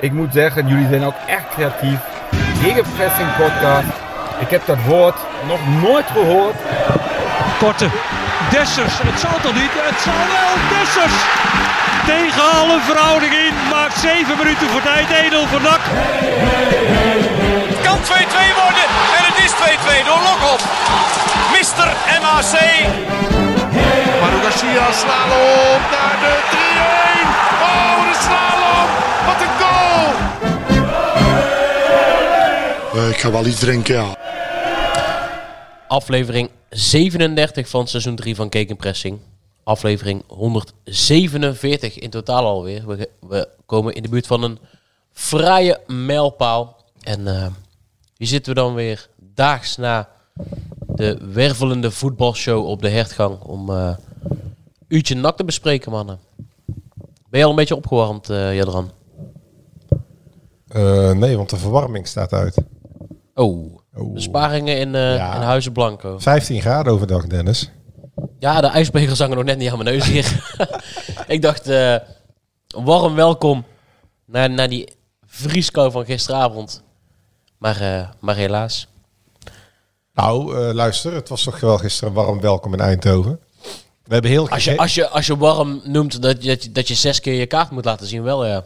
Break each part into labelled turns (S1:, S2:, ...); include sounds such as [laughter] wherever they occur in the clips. S1: Ik moet zeggen, jullie zijn ook echt creatief. Gegenpressing podcast. Ik heb dat woord nog nooit gehoord.
S2: Korte. Dessers. Het zal toch niet? Het zal wel. Dessers. Tegen alle verhouding in. Maakt 7 minuten voor tijd. Edel voor Dak.
S3: Het kan 2-2 worden. En het is 2-2 door Lokop. Mister MAC.
S4: Maru Garcia, slalom naar de 3-1. Oh, de slalom. Wat een goal.
S5: Eh, ik ga wel iets drinken, ja.
S6: Aflevering 37 van seizoen 3 van Cake and Pressing. Aflevering 147 in totaal alweer. We, we komen in de buurt van een fraaie mijlpaal. En eh, hier zitten we dan weer daags na de wervelende voetbalshow op de hertgang. Om eh uurtje nak te bespreken, mannen. Ben je al een beetje opgewarmd, eh Jadran?
S7: Eh, nee, want de verwarming staat uit.
S6: Oh,
S7: Oh.
S6: besparingen in, eh
S7: Ja.
S6: in Huizen Blanco.
S7: 15 graden overdag, Dennis.
S6: Ja, de ijspegels hangen nog net niet aan mijn neus [laughs] hier. ik dacht, eh, warm welkom naar, naar die vrieskou van gisteravond. Maar, eh, maar helaas.
S7: Nou, eh, luister, het was toch wel gisteren warm welkom in Eindhoven. We hebben heel
S6: Als je, als je, als je warm noemt dat, dat, je- dat je zes keer je kaart moet laten zien, wel ja.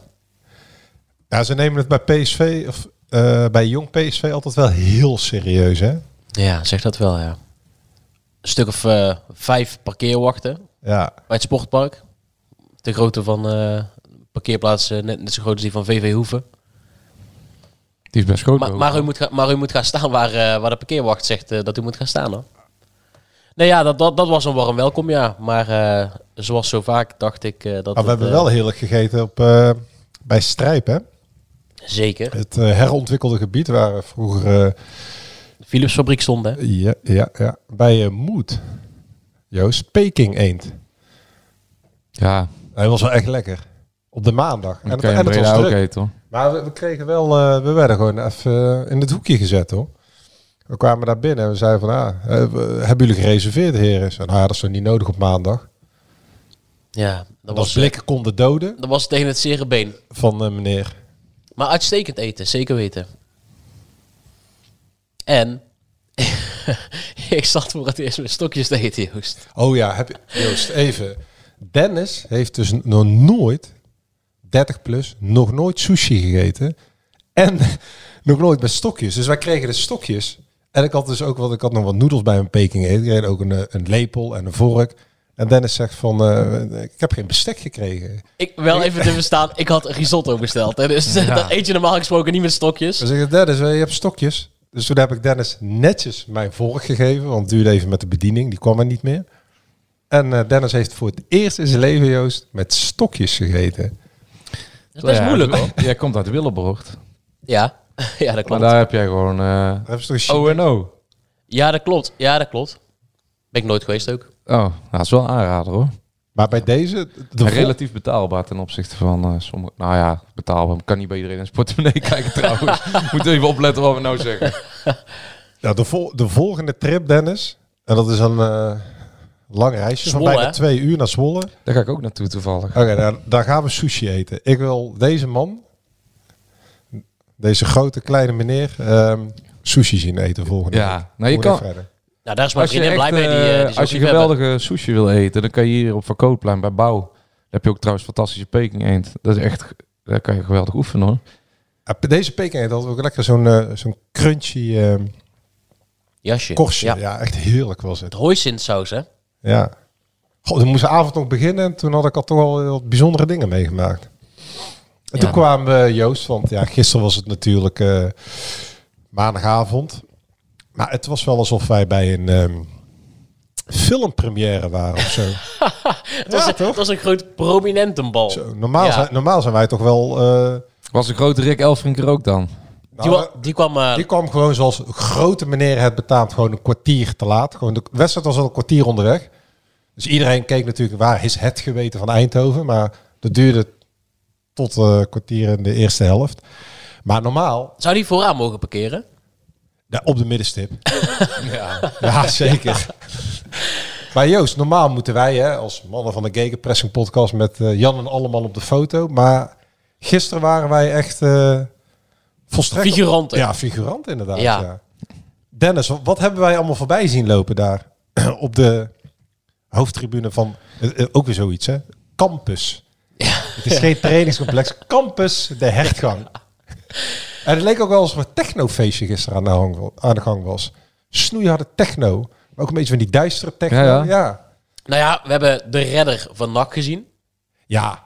S7: Ja, ze nemen het bij PSV, of eh, bij jong PSV altijd wel heel serieus, hè?
S6: Ja, zeg dat wel ja. Een stuk of eh, vijf parkeerwachten
S7: Ja, Nou,
S6: bij het sportpark. De grootte van eh parkeerplaatsen, net, net zo groot als die van VV Hoeven.
S8: Die is best groot.
S6: Maar, maar, u moet gaan, maar u moet gaan staan waar, eh, waar de parkeerwacht zegt eh, dat u moet gaan staan hoor. Nee ja, dat, dat, dat was een warm welkom ja. Maar eh, zoals zo vaak dacht ik eh, dat
S7: maar
S6: het,
S7: Ah, we hebben
S6: eh,
S7: wel heerlijk gegeten op, eh, bij Strijp, hè?
S6: Zeker.
S7: Het eh, herontwikkelde gebied waar vroeger... eh,
S6: De Philips fabriek stond hè.
S7: ja, ja, ja, bij eh Moed. Joost, Peking eend.
S8: Ja,
S7: Hij was wel echt lekker. Op de maandag.
S8: dan kan je
S7: en het was
S8: Breda ook
S7: druk.
S8: eten hoor.
S7: Maar we, we kregen wel, eh, we werden gewoon even eh, in het hoekje gezet hoor. We kwamen daar binnen en we zeiden van, ah, eh, we- hebben jullie gereserveerd heren? En nou, ja, dat is toch niet nodig op maandag.
S6: Ja, dat
S7: Dat
S6: was, eh,
S7: blikken konden doden
S6: dat was tegen het zere been.
S7: van eh, meneer.
S6: Maar uitstekend eten, zeker weten. En [laughs] ik zat voor het eerst met stokjes te eten Joost.
S7: Oh ja, heb je, Joost, even. Dennis heeft dus nog nooit, 30 plus, nog nooit sushi gegeten. En [laughs] nog nooit met stokjes. Dus wij kregen de stokjes. En ik had dus ook wat, ik had nog wat noedels bij mijn Peking eten. Ik kreeg ook een, eh, een lepel en een vork. En Dennis zegt van, eh, ik heb geen bestek gekregen.
S6: Ik wel even te verstaan, ik had risotto besteld. Hè, dus [laughs] dat eet je normaal gesproken niet met stokjes.
S7: Dus ik zeg, Dennis, eh, je hebt stokjes. Dus toen heb ik Dennis netjes mijn vork gegeven. Want het duurde even met de bediening, die kwam er niet meer. En eh, Dennis heeft voor het eerst in zijn leven, Joost, met stokjes gegeten.
S6: Dat is best
S8: Ja,
S6: moeilijk hoor.
S8: Jij komt uit Willebrocht.
S6: Ja, [laughs] ja dat
S8: Maar
S6: klopt.
S8: daar heb jij gewoon eh
S7: Dat is toch een Chine-
S6: Oh,
S8: O&O.
S6: Ja, dat klopt. Ja, dat klopt. Ben ik nooit geweest ook.
S8: Oh, nou, dat is wel een aanrader hoor.
S7: Maar bij deze, de
S8: En relatief betaalbaar ten opzichte van eh sommige... Nou ja, betaalbaar. Kan niet bij iedereen in zijn portemonnee [laughs] kijken trouwens.
S6: [laughs]
S8: Moet even opletten wat we nou zeggen.
S7: vol- ja, de, vol- de volgende trip, Dennis, en dat is een eh, lang reisje
S6: Zwolle,
S7: van bijna
S6: hè?
S7: twee uur naar Zwolle. Oké,
S8: Daar ga ik ook naartoe toevallig.
S7: daar, daar gaan we sushi eten. Ik wil deze man, deze grote kleine meneer, ehm, sushi zien eten volgende
S8: Ja,
S7: week.
S8: nou, je
S7: Hoe dat
S8: kan-
S7: verder.
S6: Nou, daar is mijn
S8: Als je,
S6: vriendin blij
S8: echt,
S6: mee. Die, eh,
S8: eh,
S6: die ze
S8: als
S6: ook
S8: je
S6: lief hebben.
S8: geweldige sushi wil eten, dan kan je hier op Van Kootplein bij Bouw. Daar heb je ook trouwens fantastische Peking eend. Dat is echt... Daar kan je geweldig oefenen hoor.
S7: Ja, bij Ah, deze Peking eten hadden we ook lekker zo'n eh, zo'n crunchy ehm,
S6: jasje.
S7: korstje. Ja.
S6: Ja.
S7: echt heerlijk was
S6: Het
S7: het.
S6: hooisintsaus, hè?
S7: Ja. Goh, dan moest de avond nog beginnen en toen had ik al toch al heel bijzondere dingen meegemaakt. En
S6: Ja.
S7: toen kwam we Joost, want ja, gisteren was het natuurlijk eh, maandagavond. Maar het was wel alsof wij bij een ehm, filmpremière waren of zo.
S6: [laughs] Het was,
S7: Ja,
S6: een,
S7: toch?
S6: het was een groot prominentenbal.
S7: Zo, normaal,
S6: Ja.
S7: zijn, normaal zijn wij toch wel... eh, nou,
S8: Was een grote Rick Elfrink er ook dan?
S6: die, wa- die kwam... eh,
S7: die kwam gewoon zoals grote meneer het betaamt, gewoon een kwartier te laat. Gewoon de wedstrijd was al een kwartier onderweg. Dus iedereen keek natuurlijk, waar is het geweten van Eindhoven? Maar dat duurde tot eh kwartier in de eerste helft. Maar normaal
S6: Zou die vooraan mogen parkeren?
S7: Ja, op de middenstip. [laughs] ja. zeker. Maar Joost, normaal moeten wij hè, als mannen van de Gegenpressing podcast met eh, Jan en Alleman op de foto. Maar Gisteren waren wij echt eh volstrekt...
S6: Figuranten.
S7: Ja, figurant inderdaad.
S6: Ja.
S7: Ja. Dennis, wa- wat hebben wij allemaal voorbij zien lopen daar [clears throat] op de hoofdtribune van... eh, eh, ook weer zoiets, hè? Campus. Het is geen trainingscomplex. Campus, de hertgang. En het leek ook wel alsof een technofeestje gisteren aan de, hang, aan de gang was. Snoeiharde techno. Maar ook een beetje van die duistere techno.
S8: Ja, ja.
S7: Ja, ja.
S6: Nou ja, we hebben de redder van NAC gezien.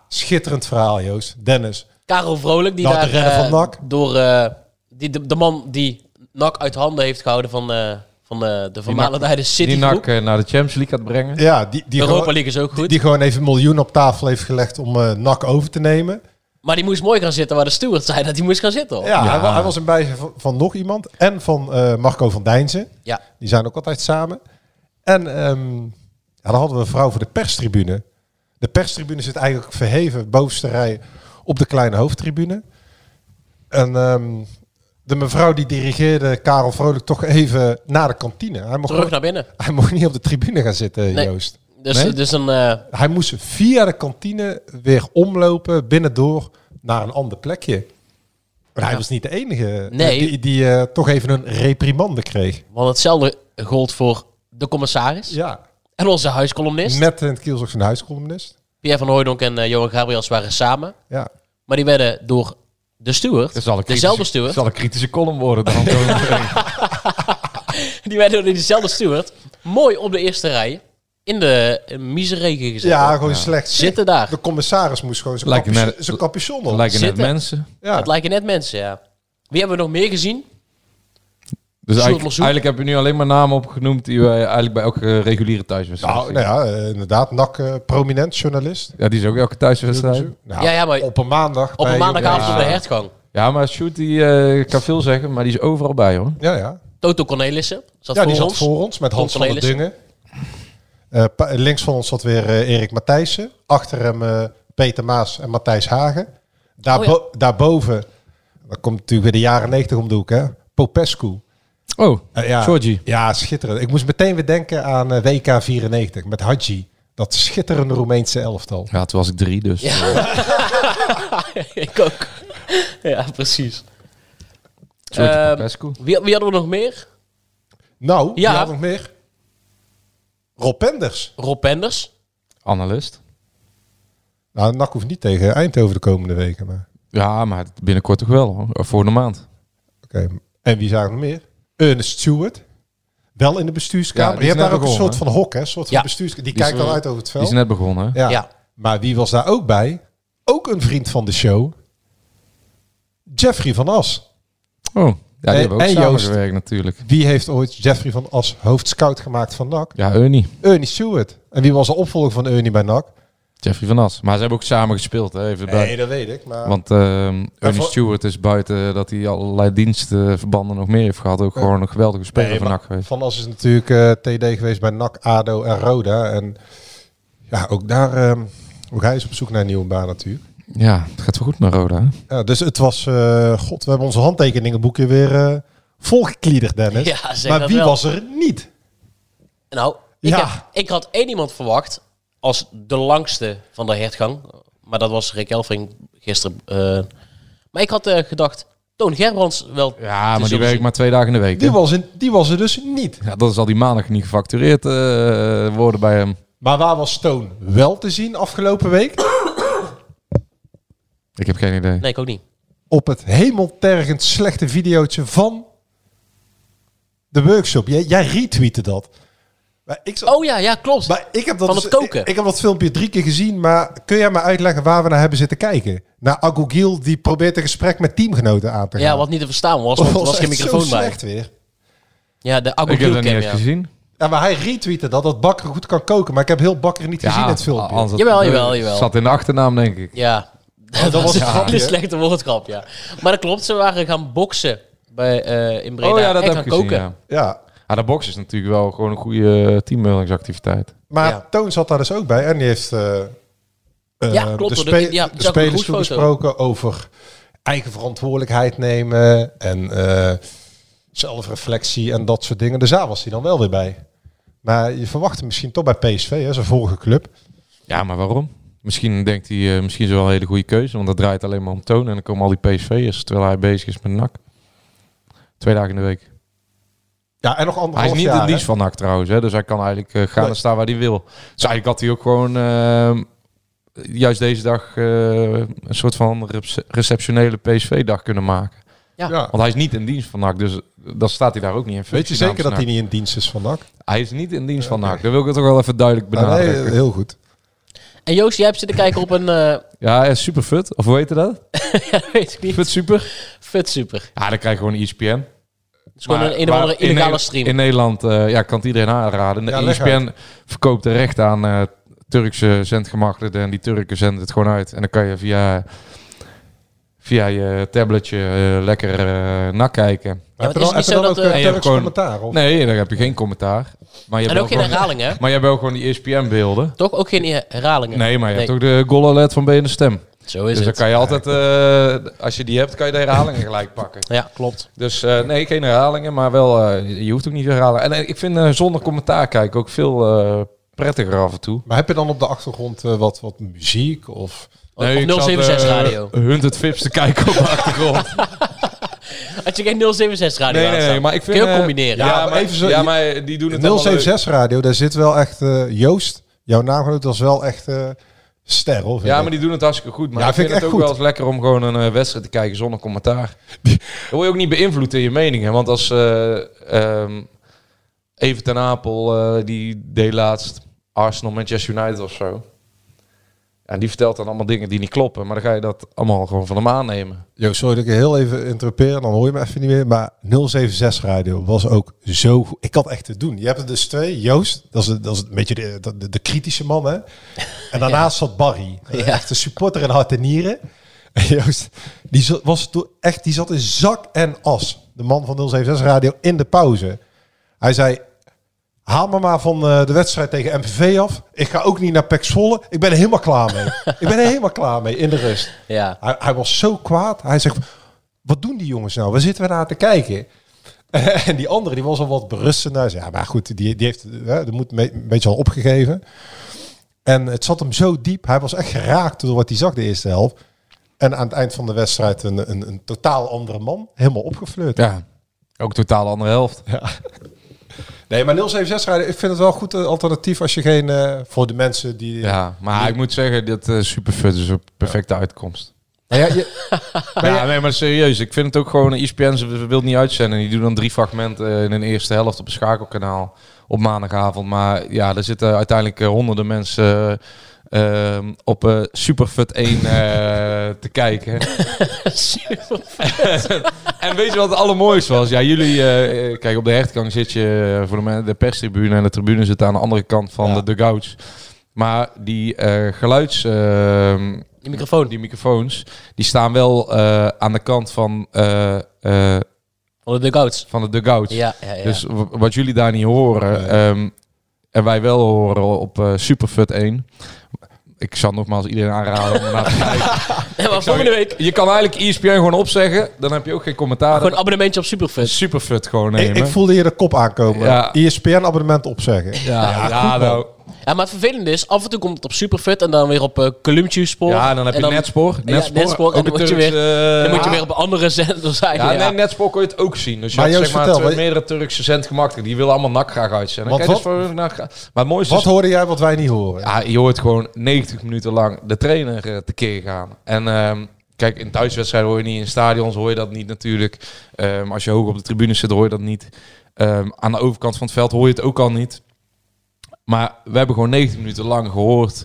S7: schitterend verhaal, Joost. Dennis.
S6: Karel Vrolijk, die
S7: Nou, de
S6: daar...
S7: redder
S6: eh,
S7: van NAC.
S6: Door eh, die, de, de man die NAC uit handen heeft gehouden van, eh, van eh, de voormalige City
S8: Die
S6: Groep.
S8: nak eh, naar de Champions League gaat brengen.
S7: Ja, die, die,
S6: Europa
S7: gewoon,
S6: League is ook goed.
S7: die gewoon even miljoen op tafel heeft gelegd om eh NAC over te nemen.
S6: Maar die moest mooi gaan zitten waar de steward zei dat hij moest gaan zitten. hoor.
S7: Ja, Hij, wa- hij was in bijzijn van, van nog iemand. En van eh, Marco van Dijnzen.
S6: Ja.
S7: Die zijn ook altijd samen. En ehm, ja, dan hadden we een vrouw voor de perstribune. De perstribune zit eigenlijk verheven, bovenste rij, op de kleine hoofdtribune. En ehm, de mevrouw die dirigeerde Karel Vrolijk toch even naar de kantine. Hij mocht,
S6: Terug naar binnen.
S7: hij mocht niet op de tribune gaan zitten,
S6: Nee.
S7: Joost.
S6: Dus,
S7: Nee?
S6: dus een, eh,
S7: Hij moest via de kantine weer omlopen, binnendoor, naar een ander plekje. Maar hij was niet de enige eh,
S6: Nee.
S7: die, die eh, toch even een reprimande kreeg.
S6: want hetzelfde gold voor de commissaris
S7: Ja.
S6: en onze huiscolumnist.
S7: Met een kielzog zijn huiscolumnist.
S6: Pierre van Hooydonk en eh, Johan Gabriels waren samen.
S7: Ja.
S6: Maar die werden door de steward,
S8: Dat zal een kritische-
S6: dezelfde steward,
S8: dat zal een kritische column worden [laughs] dan.
S6: [laughs] die werden door dezelfde steward mooi op de eerste rij in de eh, miserregen gezet.
S7: ja,
S6: hoor.
S7: gewoon slecht.
S6: Zitten daar.
S7: De commissaris moest gewoon zijn
S8: Lijkt
S7: capuchon-
S8: me net-
S7: zijn capuchon op.
S8: Dan lijken net
S6: Zitten.
S8: mensen.
S7: ja.
S6: Het lijken net mensen, ja. Wie hebben we nog meer gezien?
S8: Dus
S6: Sjoerd
S8: eigenlijk,
S6: Mazzoen.
S8: eigenlijk heb je nu alleen maar namen opgenoemd die wij eigenlijk bij elke eh, reguliere thuiswedstrijd
S7: nou,
S8: zien.
S7: nou ja, eh, inderdaad. NAC, eh, prominent journalist.
S8: Ja, die is ook elke thuiswedstrijd.
S7: Nou,
S6: Ja, ja, maar-
S7: op een maandag.
S6: Op
S7: bij-
S6: een maandagavond
S8: ja.
S6: op de hertgang.
S8: Ja, maar Sjoerd die eh, kan veel zeggen, maar die is overal bij hoor.
S7: Ja, ja.
S6: Toto Cornelissen zat
S7: ja,
S6: voor
S7: die zat
S6: ons.
S7: voor ons met Hans van der
S6: Cornelissen.
S7: Dungen. Eh, pa- links van ons zat weer eh, Erik Matthijssen. Achter hem eh, Peter Maas en Matthijs Hagen.
S6: Oh
S7: Daarbo Daarboven, dat komt natuurlijk weer de jaren negentig om de hoek, hè? Popescu.
S8: Oh,
S7: Eh, ja,
S8: Georgie.
S7: Ja, schitterend. Ik moest meteen weer denken aan eh, WK 94 met Hadji. Dat schitterende Roemeense elftal.
S8: Ja, toen was ik drie, dus. eh,
S6: [laughs] Ik ook. [laughs] ja, precies.
S8: Georgie
S6: Ehm,
S8: Popescu.
S6: Wie, wie hadden we nog meer?
S7: Nou, ja.
S6: Ja.
S7: had nog meer? Rob Penders.
S6: Rob Penders.
S8: Analist.
S7: Nou, NAC hoeft niet tegen Eindhoven de komende weken. Maar...
S8: Ja, maar binnenkort toch wel hoor. Of Voor de maand.
S7: Oké, en wie zagen we nog meer? Ernest Stewart. Wel in de bestuurskamer.
S8: Ja, die
S7: die
S8: is
S7: hebt daar
S8: net
S7: ook een
S8: begonnen,
S7: soort van hok, hè? Een soort van
S6: Ja.
S7: bestuurskamer. Die,
S8: Die is,
S7: kijkt al
S8: eh,
S7: uit over het
S8: Die is
S7: veld.
S8: net begonnen. hè?
S7: ja.
S6: Ja.
S7: Maar wie was daar ook bij? Ook een vriend van de show. Jeffrey van As.
S8: Oh, ja, die
S7: En-
S8: hebben ook
S7: en Joost.
S8: samengewerkt natuurlijk.
S7: Wie heeft ooit Jeffrey van As hoofdscout gemaakt van NAC?
S8: Ja, Ernie.
S7: Ernie Stewart. En wie was de opvolger van Ernie bij NAC?
S8: Jeffrey van As. Maar ze hebben ook samen gespeeld. Hè, even bij.
S7: dat weet ik. Maar...
S8: Want ehm Ernie
S7: voor-
S8: Stewart is buiten dat hij allerlei dienstverbanden nog meer heeft gehad. Ook gewoon een geweldige speler
S7: Nee,
S8: van
S7: maar
S8: NAC geweest.
S7: Van As is natuurlijk eh, TD geweest bij NAC, ADO en Roda. En ja, ook daar... ehm, ook hij is op zoek naar een nieuwe baan natuurlijk.
S8: Ja, het gaat wel goed met Roda. hè?
S7: Ja, dus het was, eh, god, we hebben onze handtekeningenboekje weer eh volgekliederd, Dennis.
S6: Ja, zeg
S7: maar
S6: dat
S7: wie
S6: wel.
S7: was er niet?
S6: Nou, ik,
S7: Ja.
S6: heb- ik had één iemand verwacht als de langste van de hertgang. Maar dat was Rick Elfring gisteren. eh. maar ik had eh, gedacht, Toon Gerbrands wel
S8: Ja, maar die
S6: zullen
S8: werkt
S6: zien.
S8: maar twee dagen in de week.
S7: Die
S8: hè?
S7: was, in, die was er dus niet.
S8: Ja, dat is al die maandag niet gefactureerd eh, worden bij hem.
S7: Maar waar was Stone wel te zien afgelopen week?
S8: Ik heb geen idee.
S6: Nee, ik ook niet.
S7: Op het hemeltergend slechte videootje van de workshop. Jij, jij retweette dat. Maar ik, zat-
S6: Oh ja, ja, klopt.
S7: maar ik heb dat
S6: van
S7: dus-
S6: het koken.
S7: Ik, ik heb dat filmpje drie keer gezien, maar kun jij me uitleggen waar we naar hebben zitten kijken? Naar Agogiel die probeert een gesprek met teamgenoten aan te gaan.
S6: ja, wat niet te verstaan was,
S7: Dat [laughs]
S6: want er was geen
S7: echt Oh, zo
S6: microfoon bij.
S7: slecht weer.
S6: Ja, de
S8: ik heb dat
S6: Agogil
S8: niet
S6: cam,
S8: eens
S6: ja.
S8: gezien.
S7: Ja, maar hij retweette dat, dat Bakker goed kan koken. Maar ik heb heel Bakker niet gezien in het filmpje.
S8: anders-
S6: Jawel, jawel, jawel.
S8: Zat in de achternaam, denk ik.
S6: Ja,
S8: Oh,
S6: [laughs] dat,
S7: was
S6: was
S7: het grapje,
S6: een
S7: hè?
S6: slechte woordgrap, ja. Maar dat klopt, ze waren gaan boksen bij, eh, in Breda
S8: Oh ja, dat
S6: en
S8: heb
S6: gaan
S8: ik gezien,
S6: koken.
S8: ja.
S7: Ja,
S8: Ah, de box is natuurlijk wel gewoon een goede eh, teambuildingsactiviteit.
S7: maar
S6: Ja.
S7: Toon zat daar dus ook bij. En die heeft eh, eh,
S6: Ja, klopt,
S7: de,
S6: dat-
S7: spe-
S6: ja,
S7: de
S6: ik zag een
S7: spelers
S6: goed
S7: toen
S6: foto.
S7: gesproken over eigen verantwoordelijkheid nemen. En eh, zelfreflectie en dat soort dingen. Dus daar was hij dan wel weer bij. Maar je verwacht hem misschien toch bij PSV, hè, zijn vorige club.
S8: Ja, maar waarom? Misschien denkt hij, eh, misschien is het wel een hele goede keuze, want dat draait alleen maar om toon en dan komen al die PSV'ers terwijl hij bezig is met NAC. Twee dagen in de week.
S7: Ja, en nog
S8: Hij is
S7: anderhalf
S8: niet
S7: jaar.
S8: het
S7: hè?
S8: liefst van NAC trouwens, hè? dus hij kan eigenlijk eh, gaan
S7: Nee.
S8: en staan waar hij wil. Dus eigenlijk had hij ook gewoon ehm, juist deze dag eh, een soort van rece- receptionele PSV-dag kunnen maken.
S7: Ja.
S8: Want hij is niet in dienst van NAC, dus dan staat hij daar ook niet in.
S7: Weet je
S8: functie
S7: zeker dat
S8: namens
S7: hij niet in dienst is van NAC?
S8: NAC. Hij is niet in dienst van NAC, dat wil ik het toch wel even duidelijk
S7: Ah, nee,
S8: benadrukken.
S7: heel goed.
S6: En Joost, jij hebt zitten kijken op een... eh, [laughs]
S8: Ja, hij is super fut, of hoe heet dat?
S6: weet ik niet.
S8: Fut super?
S6: Vet super.
S8: Ja, dan krijg je gewoon E ESPN.
S6: Het is gewoon
S8: Maar-
S6: een, een of
S8: maar
S6: andere
S8: in
S6: illegale
S8: Nederland-
S6: stream.
S8: In Nederland eh, ja, kan het iedereen aanraden. De E
S7: Ja, leg
S8: ESPN verkoopt de recht aan eh, Turkse zendgemachtigden. En die Turken zenden het gewoon uit. En dan kan je via, via je tabletje eh, lekker eh nakijken.
S7: heb je
S6: is het
S7: dan, heb
S6: niet
S7: je
S6: zo
S7: dan ook
S6: dat, eh,
S7: eh,
S8: En je hebt
S7: Turks
S8: gewoon-
S7: commentaar? Of?
S8: Nee, daar heb je geen commentaar. Maar je hebt,
S6: En
S8: wel
S6: ook geen
S8: gewoon,
S6: herhalingen, hè?
S8: maar je hebt wel gewoon die E ESPN-beelden.
S6: Toch? Ook geen eh, herhalingen.
S8: Nee, maar je hebt
S6: Nee.
S8: ook de goal alert van BNStem. Stem.
S6: Zo is
S8: Dus dan
S6: het.
S8: kan je altijd, eh, als je die hebt, kan je de herhalingen gelijk pakken.
S6: Ja, klopt.
S8: Dus eh, nee, geen herhalingen, maar wel, eh, je hoeft ook niet te herhalen. En eh, ik vind eh, zonder commentaar kijken ook veel eh, prettiger af en toe.
S7: Maar heb je dan op de achtergrond eh, wat, wat muziek? Of...
S6: Oh, Op
S8: Nee, ik zat,
S6: 076
S8: eh,
S6: radio.
S8: Hunt het Vips te kijken op de [laughs] achtergrond.
S6: Had je geen 076 radio
S8: nee, nee, nee,
S6: aanstaan?
S8: maar ik vind...
S6: Kun je ook
S8: eh,
S6: combineren.
S8: Ja,
S7: Ja,
S8: maar,
S7: maar even zo-
S8: ja, maar die doen het allemaal leuk.
S7: 076 Radio, daar zit wel echt... eh, Joost, jouw naamgenoot was wel echt eh ster, hoor. vind
S8: Ja,
S7: ik.
S8: maar die doen het hartstikke goed. Maar
S7: Ja,
S8: ik vind,
S7: vind ik
S8: het ook
S7: echt
S8: wel
S7: goed.
S8: eens lekker om gewoon een eh, wedstrijd te kijken zonder commentaar. Dan word je ook niet beïnvloed in je meningen. Want als eh, ehm, Even ten Apel, eh, die deed laatst Arsenal Manchester United of zo. En die vertelt dan allemaal dingen die niet kloppen. Maar dan ga je dat allemaal gewoon van hem aannemen.
S7: Joost, sorry dat ik je heel even interrupeer, dan hoor je me even niet meer. Maar 076 Radio was ook zo goed. Ik had echt te doen. Je hebt er dus twee. Joost, dat is, een- dat is een beetje de, de, de kritische man, hè? En daarnaast zat Barry. Echt een supporter in hart en nieren. En Joost, die zat, was toen echt, die zat in zak en as. De man van 076 Radio in de pauze. Hij zei, haal me maar van eh, de wedstrijd tegen MVV af. Ik ga ook niet naar Pek Zwolle. Ik ben er helemaal klaar mee. ik ben er helemaal klaar mee in de rust.
S6: Ja. [laughs]
S7: Hij, hij was zo kwaad. Hij zegt, wat doen die jongens nou? Waar zitten we naar te kijken? [laughs] en die andere, die was al wat berustender. Hij zei, Ja, maar goed, die, die heeft hè, de moed me- een beetje al opgegeven. En het zat hem zo diep. Hij was echt geraakt door wat hij zag de eerste helft. En aan het eind van de wedstrijd een, een, een totaal andere man. Helemaal opgefleurd.
S8: Ja, ook totaal andere helft.
S7: Nee, maar 076 rijden, ik vind het wel een goed eh, alternatief als je geen... eh, voor de mensen die...
S8: Ja, maar ik moet zeggen, dat eh superfut is een perfecte uitkomst.
S7: Maar Nou ja, je-
S8: ja, nee, maar serieus. Ik vind het ook gewoon... E ESPN ze wil het niet uitzenden. Die doen dan drie fragmenten eh, in een eerste helft op een schakelkanaal op maandagavond. Maar ja, daar zitten uiteindelijk eh, honderden mensen eh, ehm, op eh Superfut 1 eh, te kijken. en weet je wat het allermooiste was? Ja, jullie... eh, eh, kijk, op de hertgang zit je eh, voor de, men- de perstribune. En de tribune zit aan de andere kant van de dugouts. Maar die eh, geluids... ehm,
S6: Die microfoon
S8: die microfoons, die staan wel eh, aan de kant van, eh, eh,
S6: van de dugouts.
S8: van de dugout.
S6: Ja, ja, ja.
S8: Dus w- wat jullie daar niet horen, ehm, en wij wel horen op eh Superfut 1. Ik zal nogmaals iedereen aanraden om ernaar te [laughs] kijken.
S6: Ja, maar volgende week
S8: Je kan eigenlijk E ESPN gewoon opzeggen, dan heb je ook geen commentaar.
S6: gewoon een abonnementje op Superfest.
S8: Superfut gewoon nemen.
S7: ik, ik voelde hier de kop aankomen. E
S8: Ja.
S7: ESPN-abonnement opzeggen.
S8: ja, ja, nou,
S6: Ja, maar het vervelende is, af en toe komt het op Superfit en dan weer op eh Columbus Sport.
S8: ja, dan heb je Netspoor.
S6: ja,
S8: Netspoor,
S6: Netspoor, en dan
S8: ook een
S6: moet je
S8: Turks, eh,
S6: Dan moet je weer op een andere [laughs] zender zijn.
S8: Ja,
S6: Ja,
S8: nee, Netspoor kon je het ook zien. Dus je
S7: Maar
S8: had,
S7: Joost,
S8: zeg maar
S7: vertel,
S8: twee-
S7: wat-
S8: meerdere Turkse zendgemachtigden. Die willen allemaal NAC graag uitzenden.
S7: Want
S8: Kijk, dus
S7: wat-
S8: voor hun NAC gra- maar het mooiste
S7: Wat
S8: is...
S7: hoorde jij wat wij niet horen?
S8: Ja, je hoort gewoon 90 minuten lang de trainer eh, tekeer gaan. En ehm, kijk, in thuiswedstrijden hoor je niet. In stadions hoor je dat niet natuurlijk. Ehm, als je hoog op de tribune zit, hoor je dat niet. Ehm, aan de overkant van het veld hoor je het ook al niet. Maar we hebben gewoon 90 minuten lang gehoord...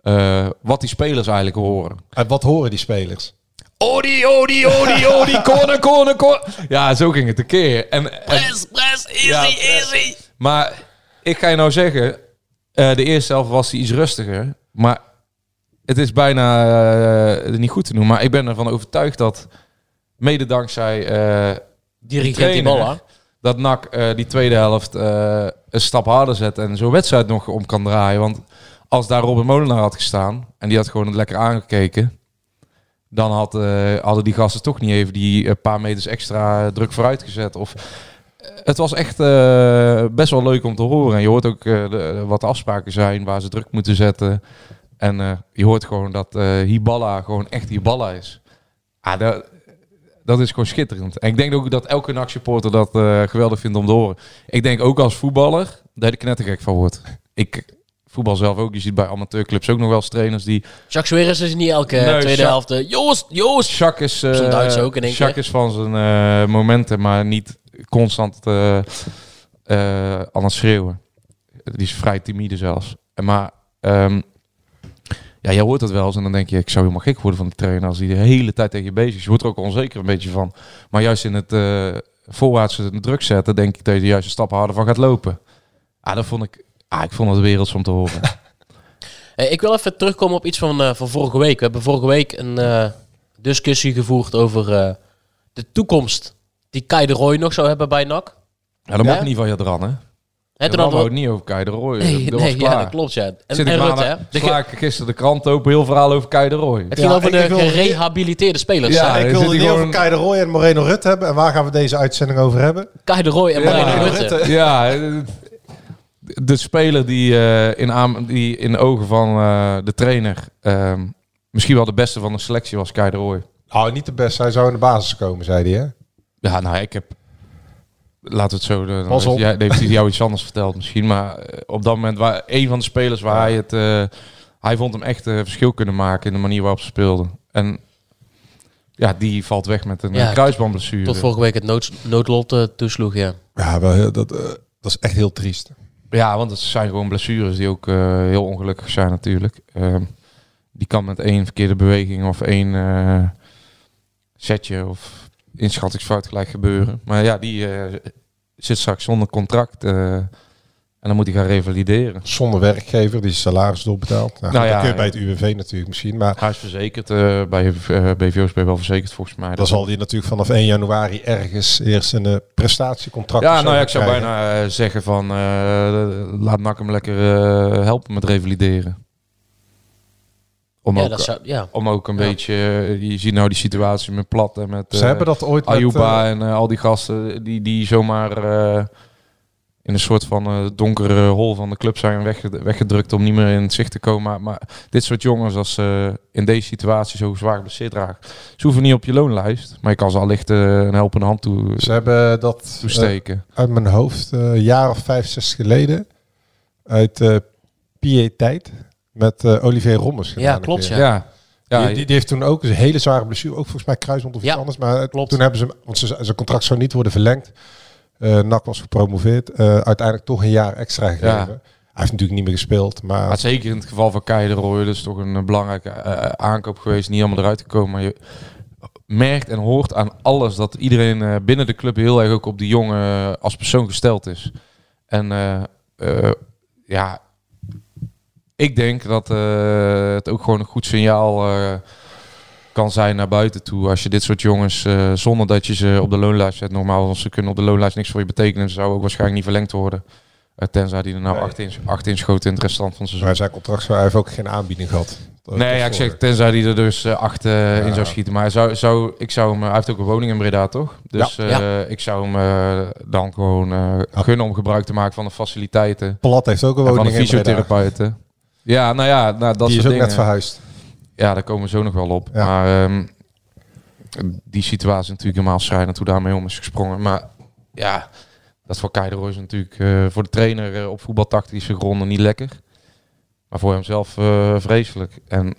S8: eh, wat die spelers eigenlijk horen.
S7: En Eh, wat horen die spelers?
S8: Odi, odi, odi,
S6: [laughs]
S8: odi, corner, corner, corner. Ja, zo ging het een keer. En, en
S6: Press, press, easy,
S8: Ja, press.
S6: easy.
S8: Maar ik ga je nou zeggen, eh, de eerste helft was hij iets rustiger. Maar het is bijna eh, niet goed te noemen. Maar ik ben ervan overtuigd dat, mede dankzij eh,
S6: Die regent die
S8: trainer,
S6: bal, hè?
S8: dat NAC eh, die tweede helft eh, een stap harder zet en zo'n wedstrijd nog om kan draaien. Want als daar Robin Molenaar had gestaan en die had gewoon het lekker aangekeken, dan had, eh, hadden die gasten toch niet even die eh, paar meters extra druk vooruit gezet. Of, eh, het was echt eh, best wel leuk om te horen. En je hoort ook eh, de- de- wat de afspraken zijn, waar ze druk moeten zetten. En eh, je hoort gewoon dat eh Hiballa gewoon echt Hiballa is. Ah, dat, dat is gewoon schitterend. En ik denk ook dat elke NAC-supporter dat eh, geweldig vindt om te horen. Ik denk ook als voetballer dat ik knettergek van word. Ik voetbal zelf ook. Je ziet bij amateurclubs ook nog wel eens trainers die...
S6: Jacques Suarez is niet elke
S8: Nee,
S6: tweede
S8: Ja-
S6: helft. eh, Joost, Joost!
S8: Shaq is, eh,
S6: Zo'n Duits ook in één
S8: Shaq
S6: keer.
S8: is van zijn eh, momenten, maar niet constant eh, eh, aan het schreeuwen. Die is vrij timide zelfs. En Maar ehm, ja, jij hoort dat wel eens en dan denk je, ik zou helemaal gek worden van de trainer als die de hele tijd tegen je bezig is. Je wordt er ook onzeker een beetje van. Maar juist in het eh voorwaartse druk zetten, denk ik dat je er juist een stap harder van gaat lopen. Ah, dat vond ik, ah, ik vond het werelds om te
S6: [laughs]
S8: horen.
S6: Eh, ik wil even terugkomen op iets van, eh, van vorige week. We hebben vorige week een eh, discussie gevoerd over eh, de toekomst die Kai de Roy nog zou hebben bij NAC.
S8: ja, dat
S7: Ja?
S8: mag niet van je dran, hè?
S6: Hè, toen
S8: Dan
S6: hadden
S8: wou
S6: we-
S8: het niet over Kai de Roy.
S6: Nee,
S8: dat
S6: nee
S8: was klaar.
S6: ja, dat klopt, ja. En,
S8: Zit ik
S6: en Rutte, hè.
S8: maandag-
S6: De ge-
S8: sla ik gisteren de krant open, heel verhaal over Kei de Roy.
S6: het ging
S7: Ja,
S6: over
S7: ik- ik
S6: de
S7: wil-
S6: gerehabiliteerde spelers.
S8: Ja.
S6: Ja.
S7: ik
S8: dan zit
S7: wilde
S8: hij
S7: het heel
S8: gewoon-
S7: over Kei de Roy en Moreno Rutte hebben. En waar gaan we deze uitzending over hebben?
S6: Kai de Roy en
S8: Ja,
S6: Marino
S8: Marino
S6: Rutte.
S8: [laughs] Ja, het- de speler die, eh, in, aan, die in de ogen van eh, de trainer ehm, misschien wel de beste van de selectie was Kei de Roy.
S7: Nou, niet de beste. Hij zou in de basis komen, zei hij. Hè?
S8: Ja, nou, ik heb... Laten we het zo... doen.
S7: Pas op.
S8: Ja, heeft hij jou iets anders verteld misschien. Maar eh, op dat moment, waar, een van de spelers waar hij het... eh, hij vond hem echt eh, verschil kunnen maken in de manier waarop ze speelden. En ja, die valt weg met een
S6: Ja,
S8: eh, kruisbandblessure.
S6: Tot vorige week het nood, noodlot eh, toesloeg, ja.
S7: Ja, wel heel- dat, eh, dat is echt heel triest.
S8: Ja, want het zijn gewoon blessures die ook eh, heel ongelukkig zijn natuurlijk. Ehm, die kan met één verkeerde beweging of één eh, setje of inschattingsfout gelijk gebeuren. Maar ja, die eh, zit straks zonder contract eh, en dan moet hij gaan revalideren.
S7: Zonder werkgever, die zijn salaris doorbetaalt. Nou,
S8: Nou
S7: dat
S8: ja,
S7: kun je bij
S8: ja.
S7: het UWV natuurlijk misschien. Maar
S8: Hij is verzekerd, eh, bij eh, BVO's ben je wel verzekerd volgens mij.
S7: dan zal hij natuurlijk vanaf 1 januari ergens eerst een eh, prestatiecontract of
S8: Ja,
S7: zo
S8: nou ja,
S7: gaan
S8: ik zou
S7: krijgen.
S8: bijna eh, zeggen van eh, laat Nak hem lekker eh, helpen met revalideren. Om
S6: Ja,
S8: ook- eh,
S6: dat
S7: eh,
S6: zou, ja.
S8: om ook een
S6: Ja.
S8: beetje, eh, je ziet nou die situatie met Plat en met
S7: Ze
S8: eh,
S7: hebben dat ooit met,
S8: Ayuba
S7: eh,
S8: en eh, al die gasten die, die zomaar eh, in een soort van eh, donkere hol van de club zijn wegge- weggedrukt om niet meer in het zicht te komen. Maar, maar dit soort jongens, als ze in deze situatie zo zwaar geblesseerd raken, ze hoeven niet op je loonlijst, maar je kan ze allicht eh, een helpende hand toe,
S7: Ze hebben dat eh,
S8: toesteken.
S7: uit mijn hoofd, eh, een jaar of vijf, zes geleden, uit eh Pietijd met eh, Olivier Rommers gedaan.
S6: Ja,
S7: een
S6: klopt,
S7: keer.
S6: ja.
S8: ja. Ja,
S7: die, die, die heeft toen ook een hele zware blessure, ook volgens mij kruisband of iets
S6: Ja,
S7: anders. Maar het-
S6: klopt.
S7: toen hebben ze, hem- want ze- zijn contract zou niet worden verlengd. Eh NAC was gepromoveerd. Eh, uiteindelijk toch een jaar extra gegeven.
S8: Ja.
S7: Hij heeft natuurlijk niet meer gespeeld, maar
S8: Maar zeker in het geval van Keideroy, dat is toch een eh, belangrijke eh, aankoop geweest. Niet helemaal eruit gekomen. Maar je merkt en hoort aan alles dat iedereen eh, binnen de club heel erg ook op die jongen eh, als persoon gesteld is. En eh, eh, ja, ik denk dat eh, het ook gewoon een goed signaal eh, kan zijn naar buiten toe. Als je dit soort jongens, eh, zonder dat je ze op de loonlijst zet, normaal, want ze kunnen op de loonlijst niks voor je betekenen, ze zouden ook waarschijnlijk niet verlengd worden. Eh, tenzij die er nou
S7: Nee.
S8: acht, in, acht inschoten in het restant van het seizoen.
S7: maar zijn contract zou, hij heeft ook geen aanbieding gehad. Dat-
S8: Nee,
S7: dat
S8: ja, ik
S7: voor-
S8: zeg tenzij hij er dus eh, acht eh, in zou schieten. Maar hij zou, zou, ik zou hem, eh, hij heeft ook een woning in Breda, toch? Dus eh, ik zou hem eh, dan gewoon eh, gunnen om gebruik te maken van de faciliteiten. en
S7: Plat heeft ook een woning
S8: van de
S7: in Breda.
S8: fysiotherapeuten. Ja, nou ja, nou, dat
S7: Die is
S8: soort
S7: ook
S8: dingen.
S7: net verhuisd.
S8: Ja, daar komen we zo nog wel op.
S7: Ja.
S8: Maar ehm, die situatie is natuurlijk helemaal schrijnend hoe daarmee om is gesprongen. Maar ja, dat voor Keideroy is natuurlijk eh, voor de trainer eh, op voetbaltactische gronden niet lekker. Maar voor hemzelf eh, vreselijk. En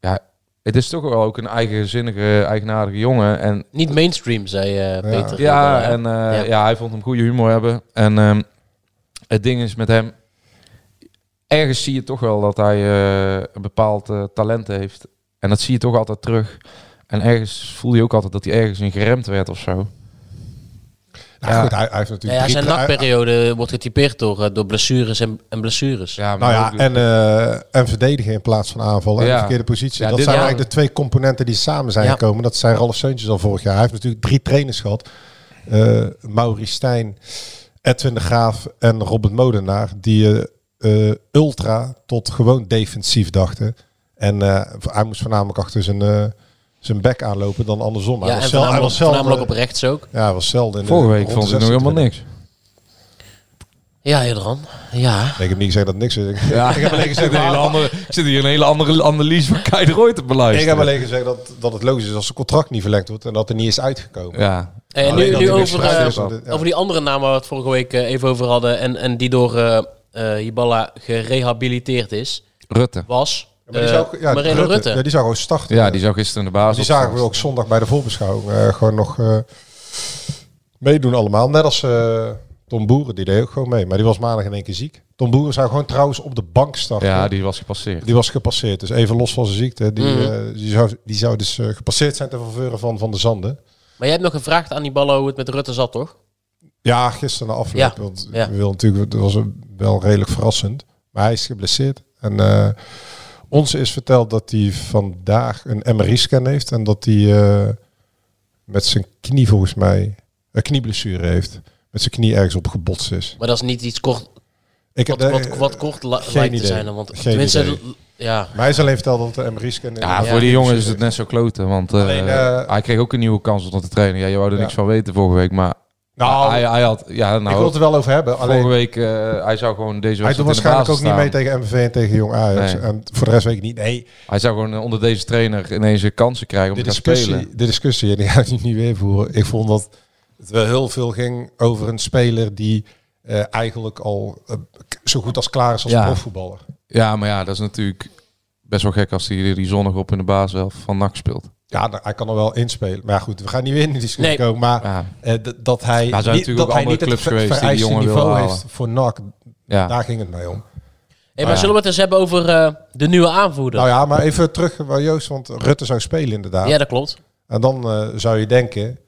S8: ja, het is toch wel ook een eigenzinnige, eigenaardige jongen. En
S6: Niet mainstream, zei eh, Peter.
S8: ja,
S6: eh,
S8: en eh,
S6: Ja.
S8: ja. hij vond hem goede humor hebben. En ehm, het ding is met hem, ergens zie je toch wel dat hij eh, een bepaald eh, talent heeft. En dat zie je toch altijd terug. En ergens voelde je ook altijd dat hij ergens in geremd werd of zo.
S7: Nou,
S8: Ja.
S7: goed, hij, hij heeft natuurlijk
S6: ja,
S7: drie
S6: zijn
S7: tra- hij-
S6: nakperiode wordt getypeerd door, eh, door blessures en, en blessures.
S8: Ja,
S7: Nou ja, en, eh, en verdedigen in plaats van aanvallen. En
S8: Ja.
S7: de verkeerde positie.
S8: Ja,
S7: dat
S8: dit-
S7: zijn
S6: ja.
S7: eigenlijk de twee componenten die samen zijn
S6: Ja.
S7: gekomen. Dat zijn Ralf Seuntjes al vorig jaar. Hij heeft natuurlijk drie trainers gehad. Eh Mauri Stijn, Edwin de Graaf en Robert Modenaar. Die eh, eh, ultra tot gewoon defensief dachten. En eh, hij moest voornamelijk achter zijn, eh, zijn bek aanlopen dan andersom. Hij
S6: Ja,
S7: was eh,
S6: en
S7: zel- hij
S6: voornamelijk,
S7: was zelden-
S6: voornamelijk op rechts ook.
S7: Ja, hij was zelden. in de
S8: vorige week
S7: ronde
S8: vond ik nog helemaal
S7: 26.
S8: niks.
S6: Ja, Hildran. Ja.
S7: Ik heb niet gezegd dat het niks is.
S8: Ja, ik heb alleen
S7: [laughs]
S8: gezegd een hele andere, ik zit hier een hele andere analyse van Kai de Roy te beluisteren.
S7: Ik heb alleen gezegd dat, dat het logisch is als het contract niet verlengd wordt en dat er niet is uitgekomen.
S8: Ja.
S6: En
S7: Alleen
S6: nu,
S7: dat
S6: nu
S7: hij niks
S6: over,
S7: krijgt,
S6: eh,
S7: dus dat- ja.
S6: over die andere naam waar we het vorige week eh, even over hadden. En, en die door eh eh, Hiballa gerehabiliteerd is.
S8: Rutte.
S6: Was
S7: Maar die
S6: eh,
S7: zou, ja,
S6: Marino Rutte.
S7: Ja, die zou gewoon starten.
S8: Ja, die zou gisteren in de basis
S7: Die zagen we
S8: opstaan.
S7: ook zondag bij de voorbeschouwing eh, gewoon nog eh, meedoen allemaal. Net als eh, Tom Boeren, die deed ook gewoon mee. Maar die was maandag in één keer ziek. Tom Boeren zou gewoon trouwens op de bank starten.
S8: Ja, die was gepasseerd.
S7: Die was gepasseerd. Dus even los van zijn ziekte. Die,
S6: Mhm.
S7: eh, die, zou, die zou dus eh, gepasseerd zijn ten faveur van Van de Zanden.
S6: Maar jij hebt nog gevraagd aan Hiballa hoe het met Rutte zat, toch?
S7: Ja, gisteren na afloop.
S6: Ja,
S7: Want
S6: ja.
S7: we wilden natuurlijk, dat was een- wel redelijk verrassend. Maar hij is geblesseerd. En eh, ons is verteld dat hij vandaag een MRI-scan heeft. En dat hij eh, met zijn knie volgens mij een knieblessure heeft. Met zijn knie ergens op gebotst is.
S6: Maar dat is niet iets kort,
S7: Ik
S6: wat,
S7: eh,
S6: wat, wat kort la-
S7: geen
S6: lijkt te
S7: idee.
S6: zijn. dan, Want
S7: Geen
S6: tenminste,
S7: idee.
S6: ja.
S7: Maar hij is alleen verteld dat de MRI-scan...
S8: Ja,
S6: Ja,
S8: voor die jongen is het net zo kloten. Want eh,
S7: Alleen, eh,
S8: hij kreeg ook een nieuwe kans om te trainen. Ja, je wou er
S7: Ja.
S8: niks van weten vorige week. Maar
S7: Nou,
S8: hij, hij had... Ah, Ja,
S7: ik wil
S8: nou,
S7: het er wel over hebben.
S8: vorige
S7: Alleen,
S8: week... eh, hij zou gewoon deze
S7: hij doet
S8: wedstrijd in de
S7: waarschijnlijk
S8: basis
S7: ook niet mee tegen
S8: staan.
S7: MVV en tegen Jong Ajax.
S8: Nee.
S7: En voor de rest weet ik niet. Nee,
S8: Hij zou gewoon eh, onder deze trainer ineens een kansen krijgen om
S7: de
S8: te gaan spelen.
S7: discussie, de discussie, en die ga ik nu niet weer voeren. Ik vond dat het wel heel veel ging over een speler die eh, eigenlijk al eh, k- zo goed als klaar is als
S8: Ja.
S7: profvoetballer.
S8: Ja, maar ja, dat is natuurlijk best wel gek als hij die zonnig op in de baas zelf van NAC speelt.
S7: Ja, da- hij kan er wel inspelen. Maar ja, goed, we gaan niet weer in die discussie
S6: Nee.
S7: komen. Maar
S8: Ja.
S7: eh, d- dat hij
S8: zijn
S7: niet,
S8: natuurlijk
S7: dat
S8: ook
S7: hij
S8: andere
S7: niet het
S8: clubs
S7: ver-
S8: geweest die die
S7: vereiste
S8: jongen wilden
S7: niveau
S8: halen.
S7: heeft voor NAC,
S8: Ja.
S7: daar ging het mee om. Ah,
S6: Hey, maar
S8: ja.
S6: zullen we het eens hebben over eh, de nieuwe aanvoerder?
S7: Nou ja, maar even terug waar Joost, want Rutte zou spelen inderdaad.
S6: Ja, dat klopt.
S7: En dan eh, zou je denken,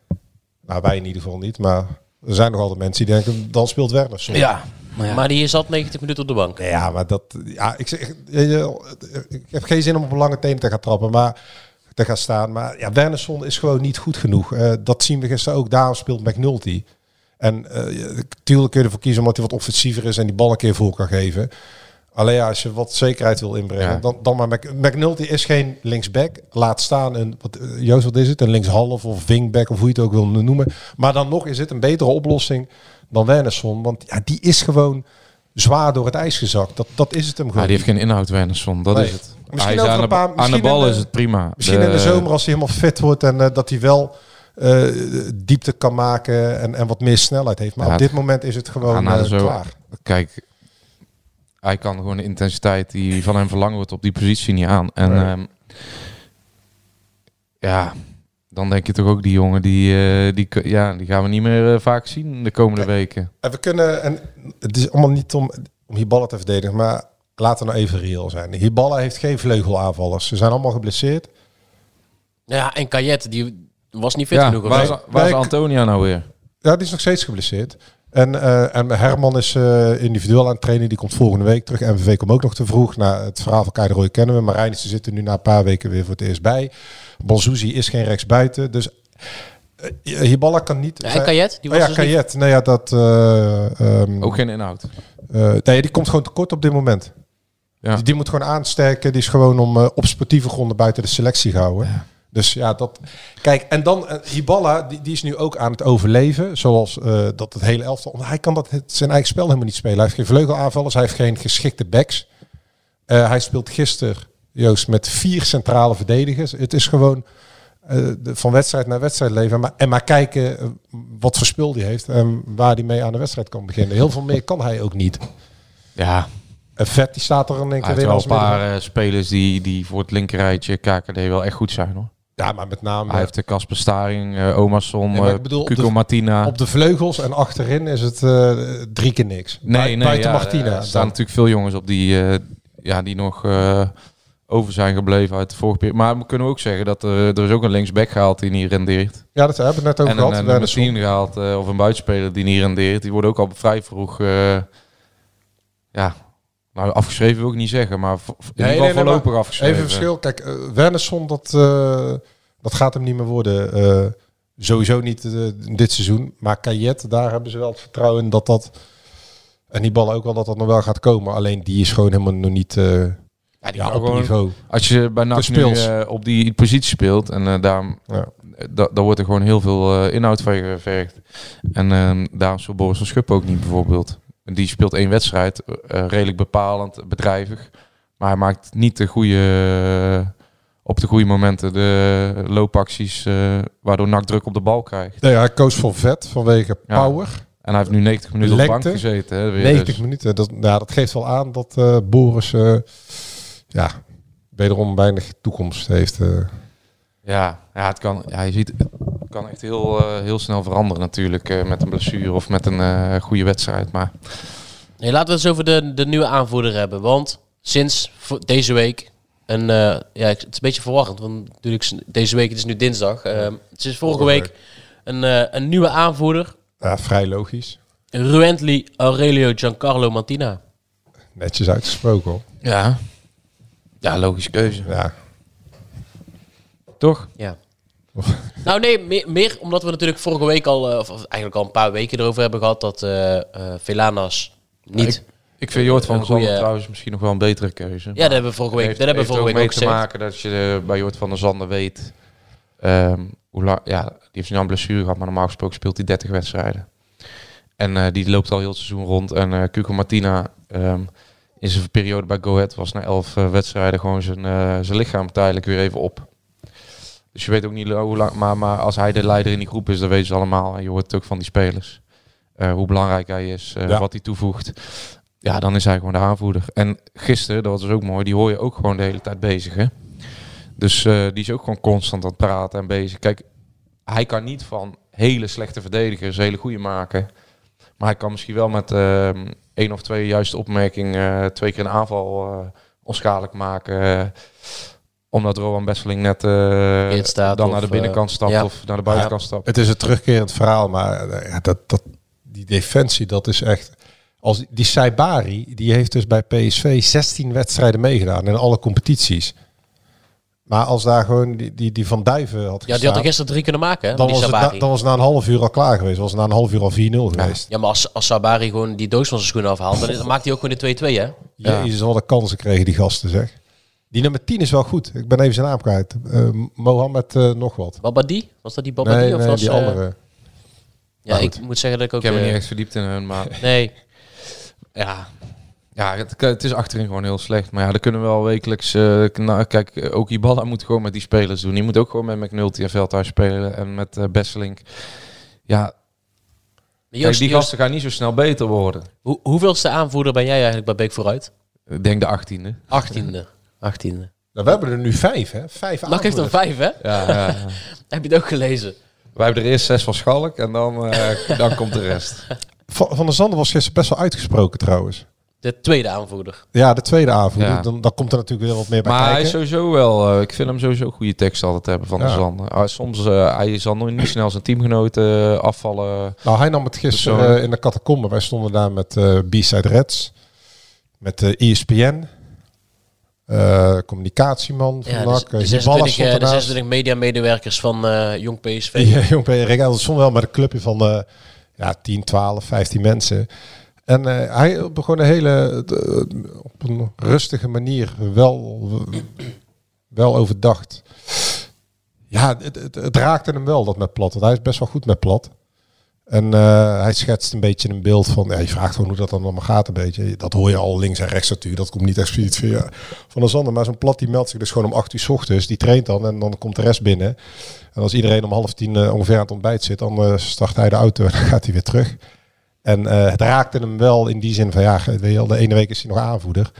S7: nou wij in ieder geval niet, maar er zijn nog altijd mensen die denken, dan speelt Werner soms.
S6: Maar die zat 90 minuten op de bank.
S7: Nee, ja, maar dat. Ja, ik, zeg, eh, eh, ik heb geen zin om op een lange teen te gaan trappen, maar te gaan staan. Maar ja, Wernersson is gewoon niet goed genoeg. Eh, dat zien we gisteren ook. Daarom speelt McNulty. En eh, tuurlijk kun je ervoor kiezen omdat hij wat offensiever is en die bal een keer voor kan geven. Alleen ja, als je wat zekerheid wil inbrengen,
S8: Ja.
S7: dan, dan maar Mc- McNulty is geen linksback. Laat staan een, wat, eh, Joost, wat is het? Een linkshalf of wingback of hoe je het ook wil noemen. Maar dan nog is het een betere oplossing dan Wernersson. Want ja, die is gewoon zwaar door het ijs gezakt. Dat, dat is het hem
S8: Ja,
S7: gewoon.
S8: die heeft geen inhoud, Wernersson. Dat
S7: Nee.
S8: is het.
S7: Misschien
S8: hij
S7: over
S8: is aan,
S7: een
S8: de,
S7: paar-
S8: aan de
S7: misschien
S8: bal
S7: in de-
S8: is het prima.
S7: Misschien in de
S8: Eh,
S7: zomer als hij helemaal fit wordt en eh, dat hij wel eh, diepte kan maken en, en wat meer snelheid heeft. Maar
S8: Ja,
S7: op
S8: het-
S7: dit moment is het
S8: Ja,
S7: gewoon
S8: nou,
S7: eh,
S8: zo-
S7: klaar.
S8: Kijk, hij kan gewoon de intensiteit die van hem verlangen wordt op die positie niet aan. En
S7: Nee.
S8: ehm, ja, dan denk je toch ook die jongen, die, eh, die, k- ja, die gaan we niet meer eh, vaak zien de komende weken.
S7: En we kunnen, en het is allemaal niet om, om Hiballa te verdedigen, maar laten we nou even reëel zijn. Hiballa heeft geen vleugelaanvallers. Ze zijn allemaal geblesseerd.
S6: Ja, en Kajet, die was niet fit
S8: Ja,
S6: genoeg. of
S8: waar,
S6: zo.
S8: is- waar is
S7: Wij-
S8: Antonia nou weer?
S7: Ja, die is nog steeds geblesseerd. En, eh, en Herman is eh, individueel aan het trainen. Die komt volgende week terug. MVV komt ook nog te vroeg. Na het verhaal van Keiderooi kennen we. Maar Reinissen zit er nu na een paar weken weer voor het eerst bij. Bonzouzi is geen rechtsbuiten. Dus eh, Hiballa kan niet...
S6: Ja, en Kajet, die
S7: Oh
S6: was
S7: ja,
S6: dus niet... Oh,
S7: Kayet. Nee, ja, dat... eh, ehm,
S8: Ook geen inhoud.
S7: eh, nee, die komt gewoon tekort op dit moment.
S8: Ja.
S7: Die, die moet gewoon aansterken. Die is gewoon om eh, op sportieve gronden buiten de selectie gehouden. Dus ja, dat... Kijk, en dan eh, Hiballa, die, die is nu ook aan het overleven. Zoals eh, dat het hele elftal... want Hij kan dat, het- zijn eigen spel helemaal niet spelen. Hij heeft geen vleugelaanvallers. Hij heeft geen geschikte backs. Eh, hij speelt gisteren, Joost, met vier centrale verdedigers. Het is gewoon eh, de- van wedstrijd naar wedstrijd leven. Maar, en maar kijken eh, wat voor spul die heeft en waar hij mee aan de wedstrijd kan beginnen. Heel veel meer kan hij ook niet.
S8: Ja,
S7: En Vet die staat er in één
S8: hij
S7: keer
S8: heeft
S7: weer
S8: wel
S7: als
S8: een paar
S7: middenveld.
S8: eh, spelers die, die voor het linkerrijtje KKD wel echt goed zijn hoor.
S7: Ja, maar met name
S8: eh, Hij heeft de Kasper Staring, eh Omerson,
S7: Nee, maar ik bedoel,
S8: eh,
S7: op de-
S8: Cuco Martina.
S7: op de vleugels en achterin is het eh, drie keer niks.
S8: Nee,
S7: Bui-
S8: nee,
S7: Buiten
S8: ja,
S7: Martina.
S8: Er staan natuurlijk veel jongens op die, eh, ja, die nog eh, over zijn gebleven uit de vorige periode. Maar we kunnen ook zeggen dat er, er is ook een linksback gehaald die niet rendeert.
S7: ja, dat hebben we het net over
S8: en een,
S7: gehad.
S8: een
S7: bij de
S8: nummer 10 gehaald eh, of een buitenspeler die niet rendeert. Die worden ook al vrij vroeg eh, ja, nou, afgeschreven wil ik niet zeggen, maar vo- in
S7: Nee,
S8: ieder
S7: nee,
S8: geval
S7: nee,
S8: voorlopig
S7: maar
S8: afgeschreven.
S7: Even verschil. Kijk, eh Wernersson, dat, eh, dat gaat hem niet meer worden. Eh, sowieso niet eh, dit seizoen. Maar Kayet, daar hebben ze wel het vertrouwen in dat dat... En die ballen ook wel, dat dat nog wel gaat komen. Alleen die is gewoon helemaal nog niet eh,
S8: Ja, die
S7: ja,
S8: gaan
S7: op
S8: gewoon-
S7: niveau.
S8: Als je bij NAC
S7: Te
S8: nu
S7: speels.
S8: eh, op die positie speelt en eh daarom,
S7: Ja.
S8: eh, da- daar wordt er ehm, gewoon heel veel eh, inhoud van je gevergd. En eh, daarom speelt Boris van Schuppen ook niet bijvoorbeeld. En Die speelt één wedstrijd, eh, redelijk bepalend, bedrijvig. Maar hij maakt niet de goede, eh, op de goede momenten de loopacties, eh, waardoor NAC druk op de bal krijgt.
S7: Nee, hij koos voor vet vanwege
S8: Ja.
S7: power.
S8: En hij heeft nu 90 minuten op de
S7: Lekte.
S8: bank gezeten. Hè, weer,
S7: 90
S8: dus.
S7: minuten. Dat, nou, dat geeft wel aan dat eh, Boris eh, ja, wederom weinig toekomst heeft. eh.
S8: Ja, ja, het kan, ja, je ziet, het kan echt heel, eh, heel snel veranderen natuurlijk eh, met een blessure of met een eh, goede wedstrijd. Maar
S6: Nee, laten we het eens over de, de nieuwe aanvoerder hebben. Want sinds vo- deze week. En eh, ja, ik- het is een beetje verwarrend. Want natuurlijk, is- deze week, het is nu dinsdag. ehm, sinds vorige week een, eh, een nieuwe aanvoerder.
S7: ja, vrij logisch.
S6: Ruentli Aurelio Giancarlo Martina.
S7: Netjes uitgesproken hoor.
S8: ja, ja logische keuze.
S7: Ja.
S8: Toch?
S6: Ja.
S7: Oh. [laughs]
S6: nou nee, meer, meer omdat we natuurlijk vorige week al, eh, of, of eigenlijk al een paar weken erover hebben gehad dat eh eh, Velanas niet.
S8: Ik, ik vind Jort van
S6: Een
S8: der Zanden
S6: goeie-
S8: trouwens misschien nog wel een betere keuze.
S6: ja, dat hebben we vorige week, dat hebben we vorige week ook
S8: te
S6: gezegd.
S8: maken dat je eh, bij Jort van der Zanden weet ehm, hoe lang... Ja, die heeft nu al een blessure gehad, maar normaal gesproken speelt hij 30 wedstrijden. En eh, die loopt al heel het seizoen rond. En eh Cuco Martina ehm, in zijn periode bij Go Ahead was na 11 eh, wedstrijden gewoon zijn, eh, zijn lichaam tijdelijk weer even op. Dus je weet ook niet hoe lang... Maar, maar als hij de leider in die groep is, dat weten ze allemaal. En je hoort het ook van die spelers. eh, hoe belangrijk hij is, eh,
S7: Ja.
S8: wat hij toevoegt. Ja, dan is hij gewoon de aanvoerder. En gisteren, dat was dus ook mooi, die hoor je ook gewoon de hele tijd bezig. Hè? Dus eh, die is ook gewoon constant aan het praten en bezig. Kijk, hij kan niet van hele slechte verdedigers hele goede maken. Maar hij kan misschien wel met ehm één of twee juiste opmerking eh, twee keer een aanval eh, onschadelijk maken. eh, omdat Rowan Besseling net eh,
S6: In staat
S8: dan
S6: of,
S8: naar de binnenkant
S6: eh,
S8: stapt
S6: ja.
S8: of naar de buitenkant stapt.
S7: Het is een terugkerend verhaal, maar eh, ja, dat, dat, die defensie, dat is echt... Als, die Saibari, die heeft dus bij PSV 16 wedstrijden meegedaan in alle competities. Maar als daar gewoon die, die, die Van Duiven had
S6: Ja,
S7: gestaan,
S6: die had er gisteren drie kunnen maken, hè?
S7: dan,
S6: die
S7: was het na,
S6: Sabari.
S7: dan was het na een half uur al klaar geweest. Was het na een half uur al 4-0 geweest.
S6: Ja, maar als, als Sabari gewoon die doos van zijn schoenen afhaalt, dan, dan maakt hij ook gewoon de 2-2, hè?
S7: Jezus, wat een kansen kregen die gasten, zeg. Die nummer 10 is wel goed. Ik ben even zijn naam kwijt. Eh, Mohamed eh, nog wat.
S6: Babadi? Was dat die Babadi?
S7: Nee,
S6: of
S7: nee,
S6: was,
S7: die
S6: eh,
S7: andere.
S6: ja,
S7: Maar
S6: ik
S7: goed.
S6: moet zeggen dat ik ook...
S8: Ik heb me
S6: eh,
S8: niet echt verdiept in hun, maar
S6: nee,
S8: Ja, ja het, het is achterin gewoon heel slecht. Maar ja, dan kunnen we wel wekelijks... eh, kna- kijk, eh, ook Ibala moet gewoon met die spelers doen. Die moet ook gewoon met McNulty en Veldhuis spelen. En met eh Besselink. Ja, kijk,
S6: Joost,
S8: die
S6: Joost,
S8: gasten gaan niet zo snel beter worden.
S6: hoe, hoeveelste aanvoerder ben jij eigenlijk bij Beek vooruit?
S8: Ik denk de achttiende.
S6: 18e.
S7: [laughs]
S6: 18e.
S7: Nou, we hebben er nu vijf, hè? Vijf
S6: Nak heeft een
S7: aanvoerders.
S6: 5, hè?
S8: Ja, ja.
S6: Heb je het ook gelezen?
S8: [laughs] Wij hebben er eerst zes van Schalk en dan, eh, [laughs] dan komt de rest.
S7: Van, van der Zanden was gisteren best wel uitgesproken trouwens.
S6: De tweede aanvoerder.
S7: Ja, de tweede aanvoerder.
S8: Ja.
S7: Dan, dan komt er natuurlijk weer wat meer bij
S8: Maar hij
S7: kijken.
S8: is sowieso wel... eh, ik vind hem sowieso goede tekst altijd hebben van de
S7: Ja.
S8: Zanden. Ah, soms eh hij zal nooit niet snel zijn teamgenoten eh, afvallen.
S7: Nou, hij nam het gisteren
S8: Persoonlijk.
S7: eh, in de catacombe. Wij stonden daar met eh B-Side Reds. Met E de ESPN. eh, communicatieman van
S6: Ja, dus
S7: NAC.
S6: de,
S7: eh, Hibala
S6: 26,
S7: stond
S6: eh, de
S7: ernaast.
S6: 26 mediamedewerkers van eh, Jong PSV.
S7: Ja, [laughs] jong Rick Elders stond wel met een clubje van eh, ja, 10, 12, 15 mensen. En eh, hij begon een hele eh, op een rustige manier wel, wel overdacht. Ja, het, het, het raakte hem wel dat met plat. Want hij is best wel goed met plat. En eh, hij schetst een beetje een beeld van. Ja, je vraagt gewoon hoe dat dan allemaal gaat een beetje. Dat hoor je al links en rechts natuurlijk. Dat komt niet expliciet via van de Zander. Maar zo'n plat die meldt zich dus gewoon om 8 uur 's ochtends. Die traint dan en dan komt de rest binnen. En als iedereen om half tien eh, ongeveer aan het ontbijt zit, dan eh, start hij de auto en [laughs] dan gaat hij weer terug. En eh, het raakte hem wel in die zin van ja, weet je wel, de ene week is hij nog aanvoerder.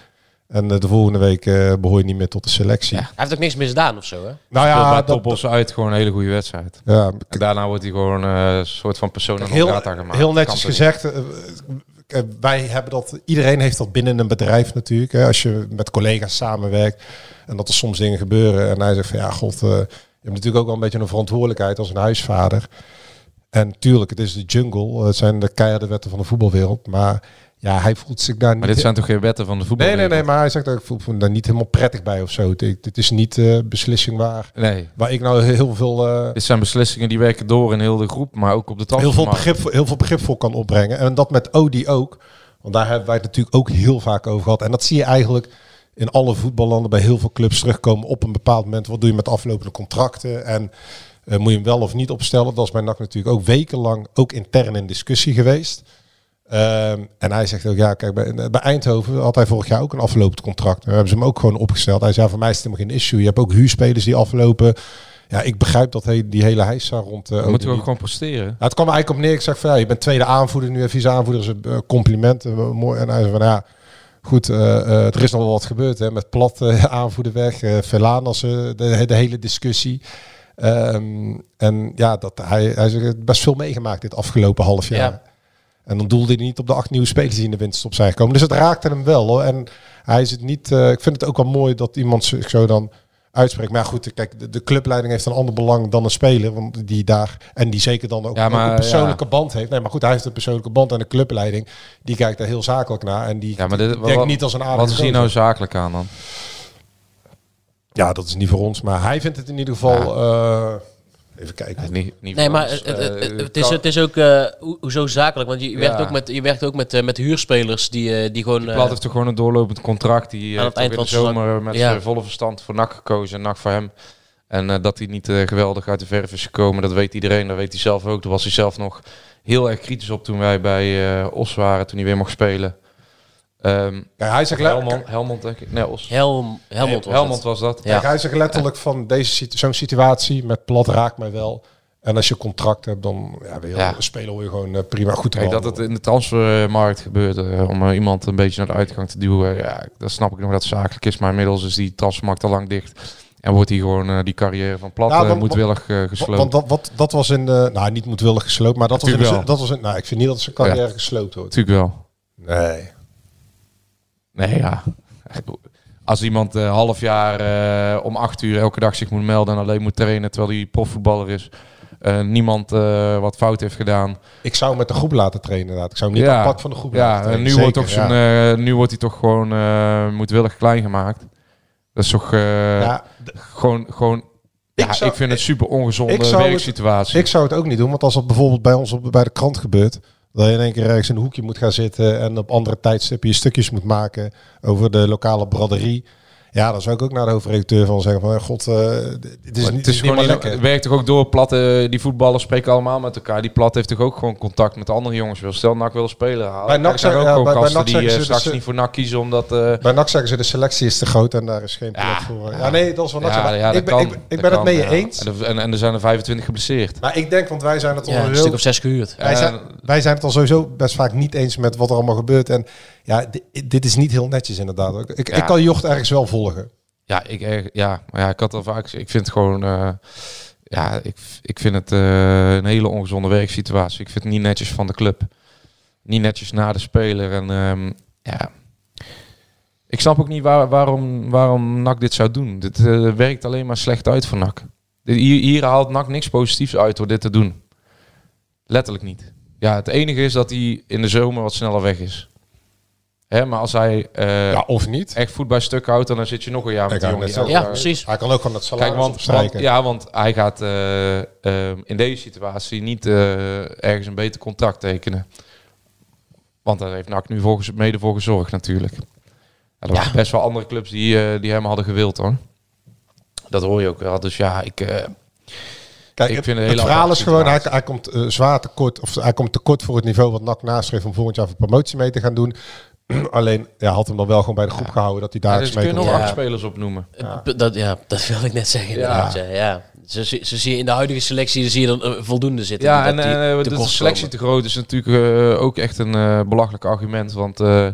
S7: En eh, de volgende week eh, behoor je niet meer tot de selectie.
S6: Hij heeft ook niks misdaan of zo, hè?
S7: Nou
S8: Ja,
S7: ja,
S8: bij
S7: dat,
S8: Topos uit gewoon een hele goede wedstrijd.
S7: ja,
S8: En daarna wordt hij gewoon eh, een soort van persoon aan
S7: heel,
S8: elkaar gemaakt.
S7: heel
S8: Kan
S7: netjes
S8: toch
S7: gezegd. eh, eh, wij hebben dat, iedereen heeft dat binnen een bedrijf natuurlijk. Hè, als je met collega's samenwerkt en dat er soms dingen gebeuren. En hij zegt van ja, god, eh, je hebt natuurlijk ook wel een beetje een verantwoordelijkheid als een huisvader. En tuurlijk, het is de jungle. Het zijn de keiharde wetten van de voetbalwereld. Maar ja, hij voelt zich daar niet...
S8: Maar dit zijn toch geen wetten van de voetbal?
S7: nee, nee, nee, maar hij zegt ook, ik voel me daar niet helemaal prettig bij of zo. Het- ik- Dit is niet eh beslissing waar,
S8: Nee.
S7: waar ik nou heel veel... eh,
S8: Dit zijn beslissingen die werken door in heel de groep, maar ook op de
S7: heel veel,
S8: transfermarkt.
S7: begrip, voor- heel veel begrip voor kan opbrengen. En dat met Odi ook. Want daar hebben wij het natuurlijk ook heel vaak over gehad. En dat zie je eigenlijk in alle voetballanden bij heel veel clubs terugkomen op een bepaald moment. Wat doe je met aflopende contracten? En eh, moet je hem wel of niet opstellen? Dat is bij NAC natuurlijk ook wekenlang ook intern in discussie geweest. Eh, Ehm, en hij zegt ook, ja, kijk, bij, bij Eindhoven had hij vorig jaar ook een aflopend contract. We hebben ze hem ook gewoon opgesteld. Hij zei, voor mij is het helemaal geen issue. Je hebt ook huurspelers die aflopen. Ja, ik begrijp dat he- die hele heisa rond... eh,
S8: Dan moeten we
S7: Odili-
S8: ook gewoon presteren.
S7: ja, het kwam er eigenlijk op neer. Ik zeg van ja, je bent tweede aanvoerder nu en vice-aanvoerder is een eh, compliment. eh, mooi. En hij zei van ja, goed, eh, eh, er is nog wel wat gebeurd hè, met plat eh, [laughs] aanvoerder weg, eh Velanas, eh, de, de hele discussie. Ehm, en ja, dat, hij, hij zegt, "Ik heb best veel meegemaakt dit afgelopen half jaar.
S6: Ja.
S7: En dan doelde hij niet op de acht nieuwe spelers die in de winterstop zijn gekomen. Dus het raakte hem wel. Hoor. En hij is het niet. eh, ik vind het ook wel mooi dat iemand zich zo dan uitspreekt. Maar goed, kijk, de, de clubleiding heeft een ander belang dan een speler. Want die daar. En die zeker dan ook,
S8: Ja,
S7: ook
S8: maar,
S7: een persoonlijke band heeft. Nee, maar goed, hij heeft een persoonlijke band. En de clubleiding, die kijkt daar heel zakelijk naar. En die
S8: Ja, maar dit,
S7: denkt niet als een aardige
S8: Wat is hier
S7: gozer.
S8: nou zakelijk aan dan?
S7: Ja, dat is niet voor ons. Maar hij vindt het in ieder geval. eh, even kijken.
S8: Ja, niet, niet
S6: Nee,
S8: voor
S6: maar
S8: ons.
S6: het, het,
S8: Eh,
S6: het- het- het
S8: kan-
S6: is, het is ook eh, hoe- hoezo zakelijk. Want je, je werkt
S8: Ja.
S6: ook met, je werkt ook met, eh, met huurspelers die, eh, die gewoon... eh,
S8: Plat heeft toch gewoon een doorlopend contract. Die eh,
S6: Aan het
S8: heeft
S6: eind
S8: toch in de
S6: van het
S8: zomer eh, met
S6: ja.
S8: zijn volle verstand voor NAC gekozen. En NAC voor hem. En eh, dat hij niet eh, geweldig uit de verf is gekomen, dat weet iedereen. Dat weet hij zelf ook. Daar was hij zelf nog heel erg kritisch op toen wij bij eh, Os waren. Toen hij weer mocht spelen. Ehm
S7: Kijk, hij zegt letterlijk.
S8: Helmond, Helmond denk ik. Nee, Os.
S6: Helm, Helmond was
S8: Helmond
S6: het.
S8: was dat.
S6: Ja.
S7: Kijk, hij zegt letterlijk van deze situ- zo'n situatie met plat raakt mij wel. En als je contract hebt, dan ja, ben je
S8: Ja.
S7: spelen hoor je gewoon eh, prima goed. te
S8: Kijk, dat het
S7: behandelen.
S8: in de transfermarkt gebeurt eh, om eh, iemand een beetje naar de uitgang te duwen. Ja, dat snap ik nog dat het zakelijk is. Maar inmiddels is die transfermarkt al lang dicht. En wordt die gewoon eh, die carrière van plat
S7: Ja,
S8: eh,
S7: want-
S8: moedwillig eh,
S7: Wa-
S8: gesloten.
S7: Want dat, wat, dat was in de, nou niet moedwillig gesloopt, maar dat was in de,
S8: Natuurlijk wel.
S7: dat was in, nou ik vind niet dat zijn carrière gesloopt wordt.
S8: Natuurlijk wel.
S7: Nee.
S8: Nee, ja. Als iemand een half jaar eh, om acht uur elke dag zich moet melden en alleen moet trainen terwijl hij profvoetballer is. eh, niemand eh, wat fout heeft gedaan.
S7: Ik zou hem met de groep laten trainen inderdaad. Ik zou hem niet
S8: Ja.
S7: apart van de groep laten
S8: Ja, en
S7: trainen.
S8: nu, wordt ook
S7: Zeker,
S8: zijn,
S7: ja.
S8: eh, nu wordt hij toch gewoon eh, moedwillig klein gemaakt. Dat is toch eh,
S7: Ja, d-
S8: gewoon, gewoon
S7: Ik
S8: ik,
S7: zou-
S8: ik vind het super
S7: ik
S8: ongezonde
S7: zou het-
S8: werksituatie.
S7: ik zou het ook niet doen, want als dat bijvoorbeeld bij ons op, bij de krant gebeurt, dat je in één keer ergens in een hoekje moet gaan zitten en op andere tijdstippen je stukjes moet maken over de lokale braderie. Ja, dan zou ik ook naar de hoofdredacteur van zeggen van, eh, god, eh, dit- dit is,
S8: Maar
S7: niet, dit is niet
S8: gewoon
S7: meer
S8: niet-
S7: lekker.
S8: Het werkt toch ook door. Platte, die voetballers spreken allemaal met elkaar. Die plat heeft toch ook gewoon contact met de andere jongens. Wil stel NAC wil spelen halen.
S7: Bij
S8: Kijk,
S7: NAC
S8: daar
S7: zijn-
S8: ook
S7: ja,
S8: gewoon
S7: bij- bij
S8: gasten
S7: NAC
S8: die
S7: zeggen
S8: eh,
S7: ze
S8: straks
S7: dus, eh,
S8: niet voor NAC kiezen omdat eh,
S7: Bij NAC zeggen ze de selectie is te groot en daar is geen plek
S8: Ja.
S7: voor. Ja, nee, dat is wel
S8: ja,
S7: ja,
S8: ja, dat
S7: ik, ben-
S8: kan.
S7: ik, ben- ik
S8: Dat
S7: ben het
S8: kan,
S7: mee je
S8: ja.
S7: eens.
S8: En, er- en, en er zijn er 25 geblesseerd.
S7: Maar ik denk, want wij zijn het al
S6: Ja, een
S7: heel-
S6: stuk of zes gehuurd.
S7: wij, zijn, wij zijn het al sowieso best vaak niet eens met wat er allemaal gebeurt. En ja, di- dit is niet heel netjes inderdaad. Ik, ik,
S8: Ja.
S7: ik kan Jocht ergens wel volgen.
S8: Ja, ik, erg- ja, maar ja, ik had al vaak gezegd, ik vind het gewoon... eh, ja, ik, ik vind het eh, een hele ongezonde werksituatie. Ik vind het niet netjes van de club. Niet netjes naar de speler. En ehm, ja... Ik snap ook niet waar, waarom, waarom NAC dit zou doen. Dit eh, werkt alleen maar slecht uit voor NAC. Dit- Hier, hier haalt NAC niks positiefs uit door dit te doen. Letterlijk niet. Ja, het enige is dat hij in de zomer wat sneller weg is. Hè, maar als hij eh,
S7: Ja, of niet.
S8: echt voet bij stuk houdt, dan zit je nog een jaar met
S7: Ik
S8: die
S7: wou
S8: jongen.
S7: net
S8: die
S6: Ja,
S7: zeggen,
S6: precies.
S7: Hij kan ook gewoon het salaris
S8: Kijk, want, want-
S7: opstrijken.
S8: ja, want hij gaat eh, ehm, in deze situatie niet eh, ergens een beter contract tekenen. Want daar heeft NAC nu volgens, mede voor gezorgd natuurlijk. Ja, er waren best wel andere clubs die, eh, die hem hadden gewild hoor. Dat hoor je ook wel. Dus ja, ik... eh,
S7: Kijk,
S8: Ik
S7: het,
S8: vind het
S7: het
S8: een hele
S7: verhaal is
S8: aparte
S7: gewoon, hij,
S8: situatie.
S7: hij komt eh, zwaar tekort, of hij komt tekort voor het niveau wat NAC nastreeft om volgend jaar voor promotie mee te gaan doen. [clears throat] Alleen, ja, had hem dan wel gewoon bij de groep gehouden dat hij daar
S8: ja,
S7: eens
S8: dus
S7: mee
S8: kun je
S7: kon
S8: nog
S6: Ja.
S7: doen.
S8: acht spelers opnoemen.
S6: Ja. Eh, Dat, ja, dat wil ik net zeggen. inderdaad, Ja. Ja. Zo, zie- zo zie je in de huidige selectie zie je er eh, voldoende zitten.
S8: Ja,
S6: die
S8: en
S6: dat die
S8: eh,
S6: te
S8: de,
S6: kost
S8: selectie
S6: komen.
S8: te groot is natuurlijk eh, ook echt een eh, belachelijk argument. Want eh,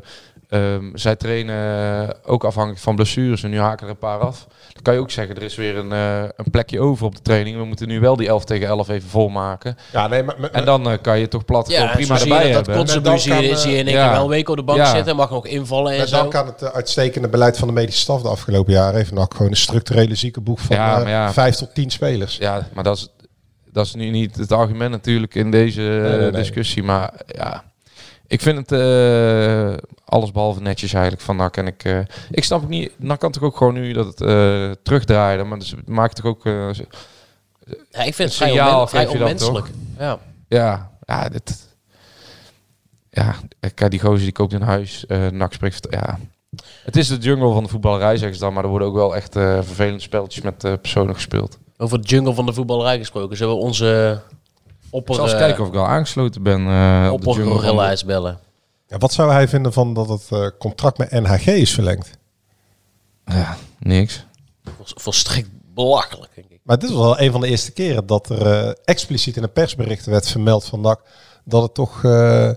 S8: ehm, zij trainen eh, ook afhankelijk van blessures. En nu haken er een paar af. Dan kan je ook zeggen, er is weer een, eh, een plekje over op de training. We moeten nu wel die 11 tegen 11 even volmaken.
S7: Ja, nee, maar, maar-
S8: En dan eh, kan je toch plat
S6: Ja,
S8: gewoon
S6: en
S8: prima
S6: zo zie je
S8: erbij
S6: dat,
S8: hebben.
S6: dat
S7: Met
S6: Kotzebue zie,
S7: dank
S6: je-
S7: aan,
S6: zie je in één
S8: eh, ja.
S6: keer wel een week op de bank
S8: Ja.
S6: zitten. Mag nog invallen en
S7: Met
S6: zo.
S7: dank aan het eh, uitstekende beleid van de medische staf de afgelopen jaren heeft NAC gewoon een structurele ziekenboek van
S8: Ja,
S7: eh,
S8: maar ja.
S7: vijf tot tien spelers.
S8: Ja, maar dat is, dat is nu niet het argument natuurlijk in deze eh,
S7: nee, nee.
S8: discussie. Maar ja, ik vind het eh alles behalve netjes eigenlijk van NAC. En ik, eh, ik snap ook niet, NAC kan toch ook gewoon nu dat het eh, terugdraaien. Maar dus het maakt toch ook... eh,
S6: Ja, ik vind het
S8: Een
S6: vrij,
S8: signaal
S6: onmen-
S8: geef
S6: vrij
S8: je dan
S6: onmenselijk. Ja.
S8: ja, ja, dit... Ja, kijk, die gozer die koopt een huis. eh NAC spreekt... Ja. Het is de jungle van de voetballerij, zeggen ze dan. Maar er worden ook wel echt eh, vervelende spelletjes met eh, personen gespeeld.
S6: Over de jungle van de voetballerij gesproken. Zullen we onze opper,
S8: Ik zal eens
S6: eh,
S8: kijken of ik al aangesloten ben eh op de jungle van de
S6: oppergorilla eens bellen?
S7: Ja, wat zou hij vinden van dat het eh, contract met NHG is verlengd?
S8: Ja, niks.
S6: Vol- Volstrekt belachelijk, denk ik.
S7: Maar dit was wel een van de eerste keren dat er eh, expliciet in een persbericht werd vermeld van NAC dat het toch eh,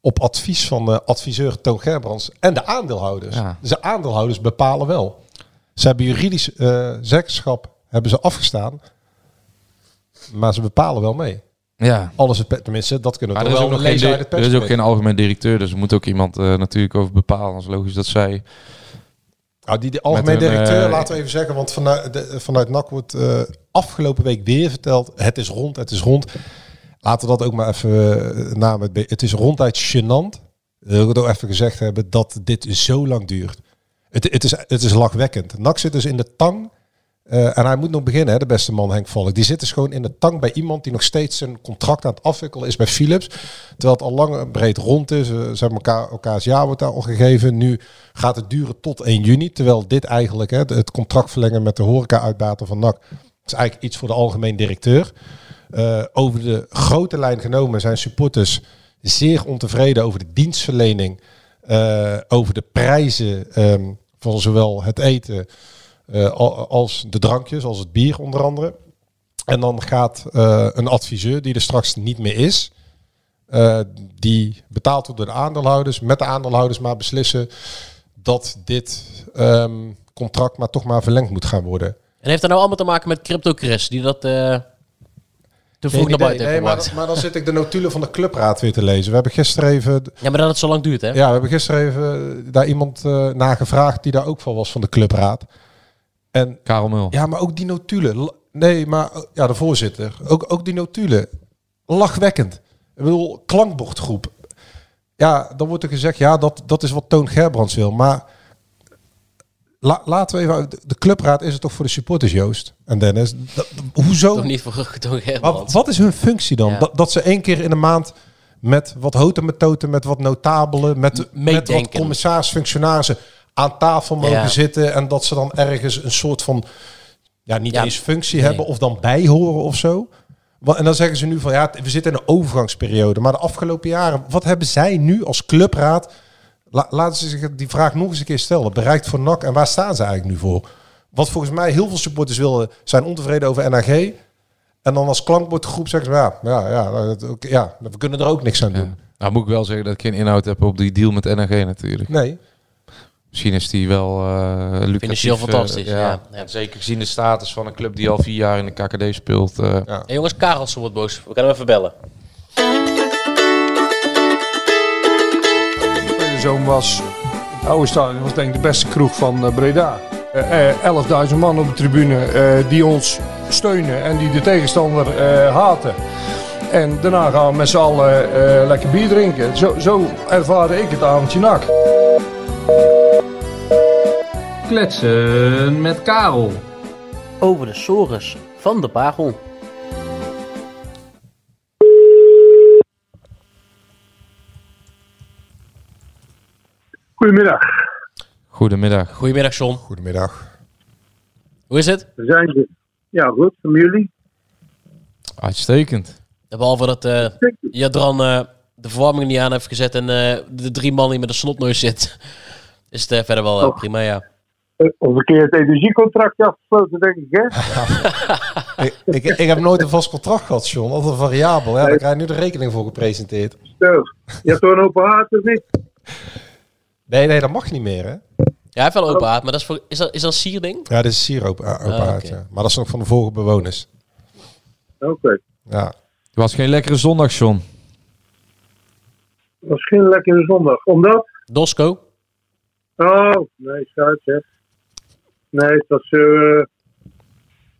S7: op advies van eh, adviseur Toon Gerbrands en de aandeelhouders.
S8: Ja.
S7: Dus de aandeelhouders bepalen wel. Ze hebben juridisch eh zeggenschap hebben ze afgestaan, maar ze bepalen wel mee.
S8: Ja.
S7: Alles het pe- tenminste, dat kunnen we
S8: Maar er
S7: toch
S8: is,
S7: wel
S8: ook nog geen,
S7: lezen uit
S8: di-
S7: het
S8: er is ook
S7: persbericht.
S8: geen algemeen directeur, dus er moet ook iemand eh, natuurlijk over bepalen. Dat is logisch dat zij...
S7: Nou, die, de algemeen
S8: Met een,
S7: directeur,
S8: eh,
S7: laten we even zeggen, want vanuit, de, vanuit NAC wordt eh, afgelopen week weer verteld, het is rond, het is rond. Laten we dat ook maar even eh, namen. Het be- Het is ronduit gênant, wil ik het ook even gezegd hebben, dat dit zo lang duurt. Het, het, is, het is lachwekkend. NAC zit dus in de tang, eh, en hij moet nog beginnen, hè, de beste man Henk Valk. Die zit dus gewoon in de tang bij iemand die nog steeds zijn contract aan het afwikkelen is bij Philips. Terwijl het al lang en breed rond is. Eh, Ze hebben elkaar, elkaars jaar wordt daar al gegeven. Nu gaat het duren tot 1 juni. Terwijl dit eigenlijk, hè, het contract verlengen met de horeca-uitbater van NAC, is eigenlijk iets voor de algemeen directeur. Eh, over de grote lijn genomen zijn supporters zeer ontevreden over de dienstverlening. eh, over de prijzen ehm, van zowel het eten eh, al- als de drankjes, als het bier onder andere. En dan gaat eh, een adviseur, die er straks niet meer is, eh, die betaald wordt door de aandeelhouders, met de aandeelhouders maar beslissen dat dit ehm, contract maar toch maar verlengd moet gaan worden.
S6: En heeft dat nou allemaal te maken met CryptoCrest, die dat eh te vroeg naar buiten
S7: nee,
S6: heeft
S7: maar,
S6: gemaakt?
S7: dan- maar dan zit ik de notulen van de clubraad weer te lezen. We hebben gisteren even,
S6: Ja, maar dat het zo lang duurt, hè?
S7: ja, we hebben gisteren even daar iemand eh naar gevraagd die daar ook van was van de clubraad. En
S8: Karel Mul.
S7: Ja, maar ook die notulen. L- Nee, maar eh, ja, de voorzitter. Ook, ook die notulen. Lachwekkend. Ik bedoel, klankbordgroep. Ja, dan wordt er gezegd, ja, dat, dat is wat Toon Gerbrands wil. Maar la- laten we even... de- De clubraad is het toch voor de supporters, Joost en Dennis? Dat- hoezo?
S6: Toch niet voor [laughs] Toon Gerbrands.
S7: Wat, wat is hun functie dan?
S6: Ja.
S7: Dat, dat ze één keer in de maand met wat houten metoten, met wat notabelen, met, met wat
S6: meedenken.
S7: commissaris, functionarissen aan tafel mogen
S6: Ja.
S7: zitten. En dat ze dan ergens een soort van, ja, niet
S6: Ja,
S7: eens functie
S6: nee.
S7: hebben of dan bijhoren of zo. Wa- En dan zeggen ze nu van ja, t- we zitten in een overgangsperiode. Maar de afgelopen jaren, wat hebben zij nu als clubraad? La- laten ze zich die vraag nog eens een keer stellen. Bereikt voor NAC en waar staan ze eigenlijk nu voor? Wat volgens mij heel veel supporters willen, zijn ontevreden over NAG. En dan als klankbordgroep zeggen ze, ja, ja, ja, dat- ook- ja, we kunnen er ook niks aan doen.
S8: Ja. Nou moet ik wel zeggen dat ik geen inhoud heb op die deal met NRG natuurlijk.
S7: Nee.
S8: Misschien is die wel eh lucratief,
S6: Financieel
S8: eh,
S6: fantastisch, ja. Ja.
S8: En zeker gezien de status van een club die al vier jaar in de KKD speelt. eh,
S7: Ja.
S6: Hey, jongens, Karelsen wordt boos. We gaan hem even bellen.
S9: De zoon was, het oude stadion was denk ik de beste kroeg van eh, Breda. Eh, eh, 11.000 man op de tribune eh, die ons steunen en die de tegenstander eh, haten. En daarna gaan we met z'n allen eh, lekker bier drinken. Zo, zo ervaarde ik het avondje nak.
S10: Kletsen met Karel.
S6: Over de sores van de Bagel.
S11: Goedemiddag.
S8: Goedemiddag.
S6: Goedemiddag, John.
S7: Goedemiddag.
S6: Hoe is het?
S11: Daar zijn ze. Ja, goed, van jullie.
S8: Uitstekend.
S6: Behalve dat eh Jadran eh, de verwarming niet aan heeft gezet en eh, de drie man die met een snotneus zit, [laughs] is het eh, verder wel eh, prima, ja.
S11: Eh, Of een keer het energiecontract afgesloten, denk ik, hè?
S7: ik, ik, ik heb nooit een vast contract gehad, John. Altijd een variabel. Ja, daar krijg je nu de rekening voor gepresenteerd.
S11: Zo. Je hebt toch een open haard, of niet?
S7: Nee, nee, dat mag niet meer, hè?
S6: Ja, hij heeft wel open haard, maar dat is, voor, is, dat, is dat een sierding?
S7: Ja, dit is hier open, eh, open
S6: Ah,
S7: haard,
S6: oké.
S7: ja. Maar dat is nog van de vorige bewoners.
S11: Oké.
S7: Ja.
S8: Het was geen lekkere zondag, John.
S11: Misschien lekkere zondag. Omdat?
S6: Dosco?
S11: Oh, nee, schuit, hè. Nee, dat is... eh,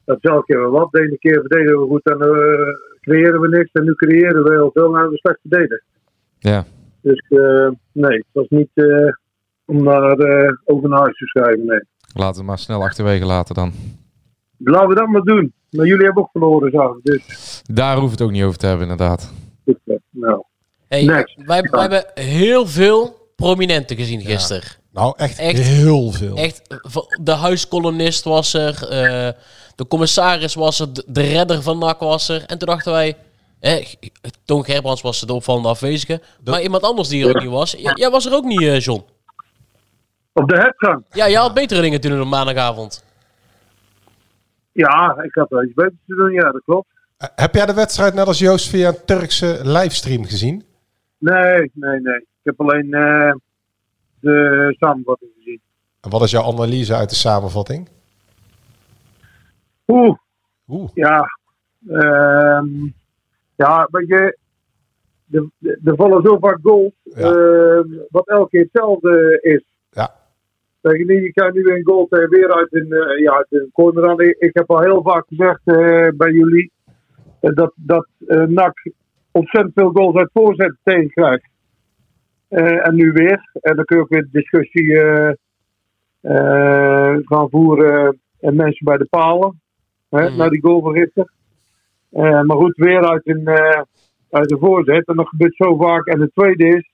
S11: dat is elke keer wel wat. De ene keer verdedigen we goed en eh creëren we niks. En nu creëren we heel veel en hebben we slecht verdedigd.
S8: Ja.
S11: Dus eh, nee, het was niet eh, om daar eh, over naar huis te schrijven, nee.
S8: Laten we maar snel achterwege laten dan.
S11: Laten we dat maar doen. Maar jullie hebben ook verloren, zag ik. Dus,
S8: Daar hoeven we het ook niet over te hebben, inderdaad.
S11: goed, eh, nou...
S6: Hey,
S11: Next.
S6: wij, wij hebben heel veel prominenten gezien gisteren.
S7: Nou, echt,
S6: Echt?
S7: heel veel.
S6: Echt, eh, v- de huiskolonist was er, eh, de commissaris was er, de- de redder van NAC was er. En toen dachten wij, Hè, Toon Gerbrands was de opvallende afwezige. Maar iemand anders die er ook niet was. J- jij was er ook niet, eh, John.
S11: Op de hepgang.
S6: Ja, jij had betere dingen te doen op maandagavond.
S11: Ja, ik had wel iets beters te doen, ja, dat klopt.
S7: Heb jij de wedstrijd net als Joost via een Turkse livestream gezien?
S11: Nee, nee, nee. Ik heb alleen eh, de samenvatting gezien.
S7: En wat is jouw analyse uit de samenvatting?
S11: Oeh.
S7: Oeh.
S11: Ja. Ehm, ja, weet je. Er er- er vallen zo vaak goals. ehm, wat elke keer hetzelfde is.
S7: Ja.
S11: Weet je, niet, je kan nu een goal tegen weer uit een, eh, ja, uit een corner aan. Ik, ik heb al heel vaak gezegd eh, bij jullie. eh, dat dat eh, NAC ontzettend veel goals uit voorzet tegenkrijgt. Eh, en nu weer. En dan kun je ook weer de discussie eh, eh, gaan voeren. En mensen bij de palen. Hè, Naar die goal van Richter. Eh, maar goed, weer uit een, eh, uit een voorzet. En dat gebeurt zo vaak. En het tweede is.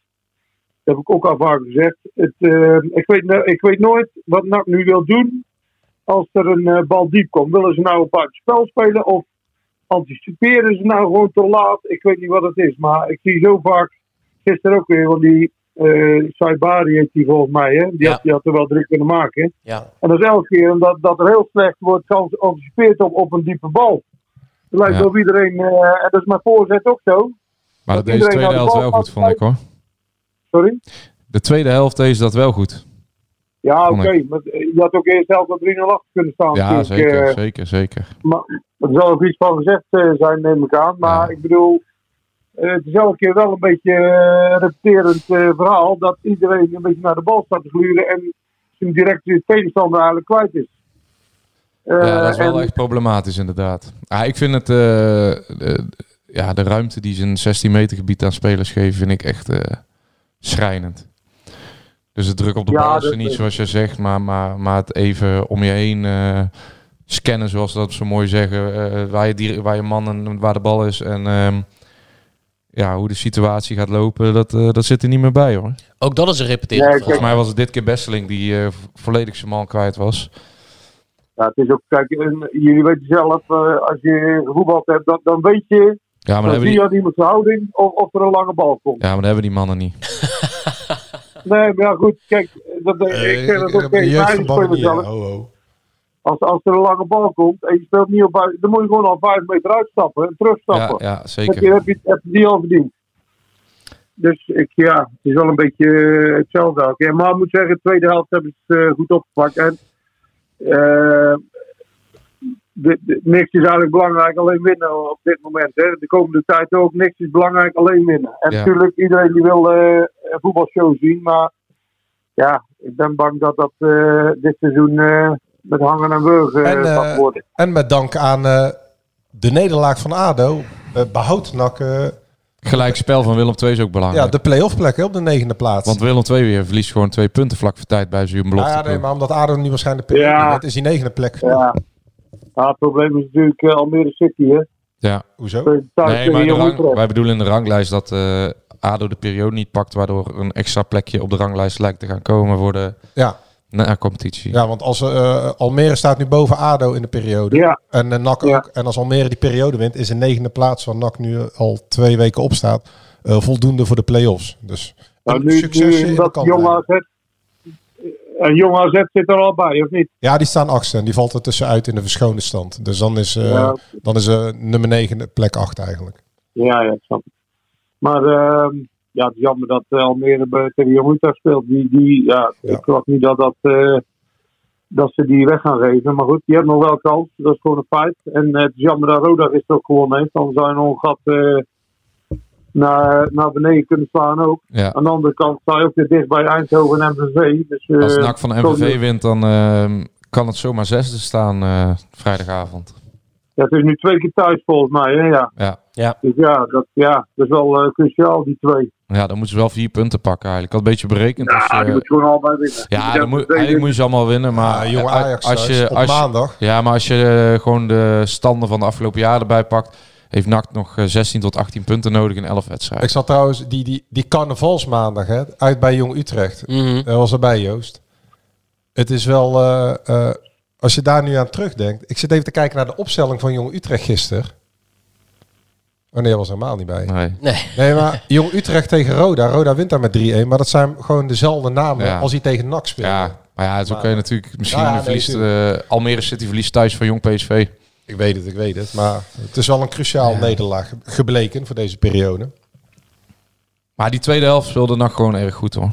S11: Dat heb ik ook al vaak gezegd. Het, eh, ik, weet, no- ik weet nooit wat NAC nu wil doen. Als er een eh, bal diep komt. Willen ze nou een buitenspel spelen? Of anticiperen ze nou gewoon te laat? Ik weet niet wat het is. Maar ik zie zo vaak. Gisteren ook weer. Want die eh Saibari heeft die volgens mij. Hè? Die,
S6: Ja.
S11: had, die had er wel drie kunnen maken. hè?
S6: Ja.
S11: En dat is elke keer omdat dat er heel slecht wordt geanticipeerd op, op een diepe bal. Het lijkt
S8: Ja.
S11: of iedereen, eh, en dat is mijn voorzet ook zo.
S8: Maar dat
S11: Dat
S8: deze
S11: iedereen
S8: tweede
S11: naar de
S8: helft
S11: bal
S8: wel
S11: gaat
S8: goed, vond ik hoor.
S11: Sorry?
S8: De tweede helft deze dat wel goed.
S11: Ja,
S8: Vond
S11: oké.
S8: ik.
S11: maar Je had ook eerst zelf met 3-0 achter kunnen staan.
S8: Ja,
S11: natuurlijk,
S8: zeker,
S11: eh,
S8: zeker, zeker.
S11: Maar er zal ook iets van gezegd eh, zijn, neem ik aan. Maar ik bedoel, eh, het is elke keer wel een beetje eh, een repeterend eh, verhaal. Dat iedereen een beetje naar de bal staat te gluren. En zijn directe tegenstander eigenlijk kwijt is.
S8: ja, dat is
S11: Eh,
S8: wel
S11: en-
S8: echt problematisch inderdaad. Ah, ik vind het... eh, eh, ja, de ruimte die ze in het 16 meter gebied aan spelers geven, vind ik echt eh, schrijnend. Dus de druk op de
S11: Ja,
S8: bal is
S11: dat
S8: er niet
S11: is-
S8: zoals je zegt, maar, maar, maar het even om je heen eh, scannen, zoals ze dat zo mooi zeggen. eh, waar, je die, waar je man en waar de bal is en ehm, ja, hoe de situatie gaat lopen, dat, eh, dat zit er niet meer bij hoor.
S6: Ook dat is een repeterend
S11: Nee,
S6: verhaal.
S8: Volgens mij was het dit keer Besseling die eh, vo- volledig zijn man kwijt was.
S11: Ja, het is ook, kijk, en jullie weten zelf, eh, als je gevoetbald hebt, dan, dan weet je,
S8: Ja, maar
S11: dan
S8: dat hebben
S11: zie
S8: die,
S11: je aan iemands houding of, of er een lange bal komt.
S8: ja, maar dat hebben die mannen niet.
S11: Nee, maar ja, goed, kijk, dat,
S8: Eh,
S11: ik zeg dat ook tegen mijn spelers zelf.
S8: oh.
S11: Als, als er een lange bal komt en je speelt niet op buiten, dan moet je gewoon al vijf meter uitstappen en
S8: Ja,
S11: terugstappen.
S8: ja,
S11: heb, je,
S8: zeker.
S11: heb, je, heb je die al verdiend. Dus ik, ja, het is wel een beetje eh, hetzelfde. ook. Ja, maar ik moet zeggen, de tweede helft hebben ze het eh, goed opgepakt. En, eh, de, de- niks is eigenlijk belangrijk, alleen winnen op dit moment. Hè. De komende tijd ook, niks is belangrijk, alleen winnen. En
S8: Ja.
S11: natuurlijk, iedereen die wil eh, een voetbalshow zien, maar ja, ik ben bang dat dat eh, dit seizoen eh, met hangen en wurgen
S7: En,
S11: eh,
S7: eh,
S11: gaat worden.
S7: En met dank aan eh, de nederlaag van ADO eh, behoudt NAC eh,
S8: Gelijk spel van Willem II is ook belangrijk.
S7: ja, de play-off plek hè, op de negende plaats.
S8: Want Willem II weer verliest gewoon twee punten vlak voor tijd bij zijn
S7: Ah,
S8: belofte.
S7: ja, nee,
S8: ploeg.
S7: maar omdat ADO nu waarschijnlijk de play-off
S11: Ja.
S7: doet, is die negende plek.
S11: Ja. Ja, het probleem is natuurlijk eh, Almere City, hè.
S8: ja.
S7: Hoezo?
S11: Thuis
S8: nee,
S11: tegen
S8: maar de
S11: Jong
S8: rang-
S11: Utrecht.
S8: wij bedoelen in de ranglijst dat eh, ADO de periode niet pakt, waardoor een extra plekje op de ranglijst lijkt te gaan komen voor de
S7: Ja.
S8: na competitie.
S7: Ja, want als eh, Almere staat nu boven ADO in de periode.
S11: Ja.
S7: En eh, NAC
S11: Ja.
S7: ook. En als Almere die periode wint, is de negende plaats waar NAC nu al twee weken op staat eh, voldoende voor de play-offs. Dus
S11: Nou,
S7: een
S11: nu,
S7: succesje
S11: nu
S7: in de
S11: dat
S7: kant
S11: jong
S7: blijven.
S11: AZ, en jong AZ zit er al bij, of niet?
S7: Ja, die staan achtste en die valt er tussenuit in de verschone stand. Dus dan is, eh,
S11: Ja.
S7: dan is eh, nummer negen plek acht eigenlijk.
S11: Ja, ja, ik snap het. Maar ehm, ja, het is jammer dat eh, Almere bij- tegen Jong Utrecht speelt. Die, die, ja,
S7: Ja.
S11: Ik geloof niet dat, dat, eh, dat ze die weg gaan geven. Maar goed, die hebben nog wel kans. Dat is gewoon een feit. En eh, het is jammer dat Roda gisteren ook gewonnen heeft. Dan zou je nog een gat eh, naar, naar beneden kunnen slaan ook.
S8: Ja.
S11: Aan de andere kant sta je ook weer dicht bij Eindhoven en MVV. Dus, eh,
S8: Als NAC van
S11: zo-
S8: MVV wint, dan ehm, kan het zomaar zesde staan eh, vrijdagavond.
S11: Ja, het is nu twee keer thuis volgens mij, hè? Ja.
S8: Ja.
S11: Dus ja, dat, ja, dat is wel eh, cruciaal, die twee.
S8: ja, dan moeten ze wel vier punten pakken eigenlijk. Ik had een beetje berekend. als je-
S11: Ja, die moet gewoon allebei winnen.
S8: ja,
S11: Die
S8: dan moet,
S11: twee
S8: eigenlijk moet je ze allemaal winnen. Maar
S7: Maar jonge
S8: eh,
S7: Ah, Ajax
S8: als
S7: thuis
S8: je,
S7: op
S8: als je-
S7: maandag.
S8: Ja, maar als je eh, gewoon de standen van de afgelopen jaren erbij pakt, heeft NAC nog eh, 16 tot 18 punten nodig in 11 wedstrijden.
S7: Ik zat trouwens die, die, die carnavalsmaandag hè, uit bij Jong Utrecht.
S6: Mhm.
S7: Dat was erbij, Joost. Het is wel, eh, eh, als je daar nu aan terugdenkt. Ik zit even te kijken naar de opstelling van Jong Utrecht gisteren. Oh nee, hij was helemaal niet bij.
S8: Nee.
S6: Nee.
S7: Nee, maar Jong Utrecht tegen Roda. Roda wint daar met 3-1. Maar dat zijn gewoon dezelfde namen
S8: Ja.
S7: als hij tegen NAC speelde.
S8: Ja, maar ja, het is ook
S7: Maar-
S8: eh, natuurlijk... Misschien
S7: Ja, nee,
S8: verliest eh, Almere City verliest thuis van Jong PSV.
S7: Ik weet het, ik weet het. Maar het is wel een cruciaal nederlaag gebleken voor deze periode.
S8: Maar die tweede helft speelde NAC gewoon erg goed, hoor.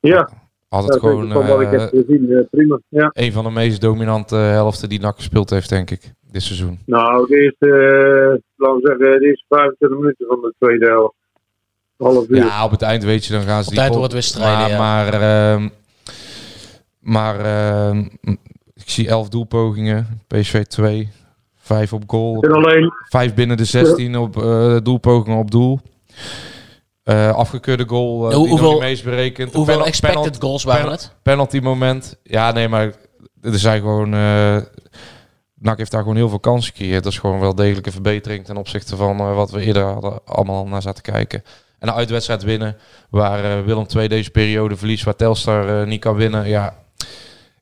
S11: Ja,
S8: Had het
S11: dat
S8: gewoon
S11: is wat ik
S8: eh,
S11: heb gezien. eh, prima. Ja.
S8: een van de meest dominante helften die NAC gespeeld heeft, denk ik. Dit seizoen.
S11: Nou, de eerste, eh, laten we zeggen, de eerste 25 minuten van de tweede helft. Half uur.
S8: Ja, op het eind weet je, dan gaan ze
S6: Op het eind
S8: pot-
S6: wordt het weer strijden,
S8: Maar,
S6: ja.
S8: maar, ehm, maar ehm, ik zie elf doelpogingen. PSV 2. Vijf op goal.
S11: En alleen,
S8: Vijf binnen de 16 op eh, doelpogingen op doel. Eh, afgekeurde goal. eh,
S6: Hoe-
S8: die nog
S6: hoeveel-
S8: niet meest berekend.
S6: Hoeveel
S8: Penal-
S6: expected
S8: penalt-
S6: goals waren
S8: penal-
S6: het?
S8: Penalty moment. Ja, nee, maar er zijn gewoon... eh NAC heeft daar gewoon heel veel kansen gecreëerd. Dat is gewoon wel degelijke verbetering ten opzichte van eh, wat we eerder hadden, allemaal naar zaten kijken. En een uitwedstrijd winnen, waar eh, Willem II deze periode verliest, waar Telstar eh, niet kan winnen. Ja,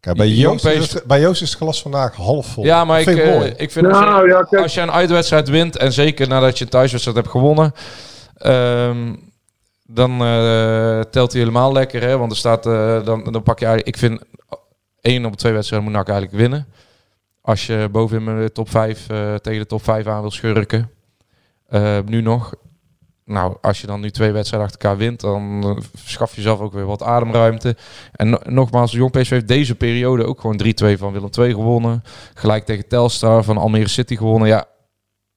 S7: Kijk, bij,
S8: Jong
S7: Joost is
S8: PSV
S7: het, bij Joost is het glas vandaag half vol.
S8: ja maar ik,
S7: Dat vind
S8: eh,
S7: mooi.
S8: ik vind
S11: Nou, ja, kijk.
S8: als je een uitwedstrijd wint, en zeker nadat je een thuiswedstrijd hebt gewonnen, ehm, dan eh, telt hij helemaal lekker. Hè? Want er staat, eh, dan, dan pak je eigenlijk, ik vind één op twee wedstrijden moet NAC eigenlijk winnen. Als je bovenin met de top 5 tegen de top 5 aan wil schurken. Eh, nu nog. Nou, als je dan nu twee wedstrijden achter elkaar wint, dan eh, schaf je zelf ook weer wat ademruimte. En no- nogmaals, Jong PSV heeft deze periode ook gewoon 3-2 van Willem II gewonnen. Gelijk tegen Telstar van Almere City gewonnen. Ja,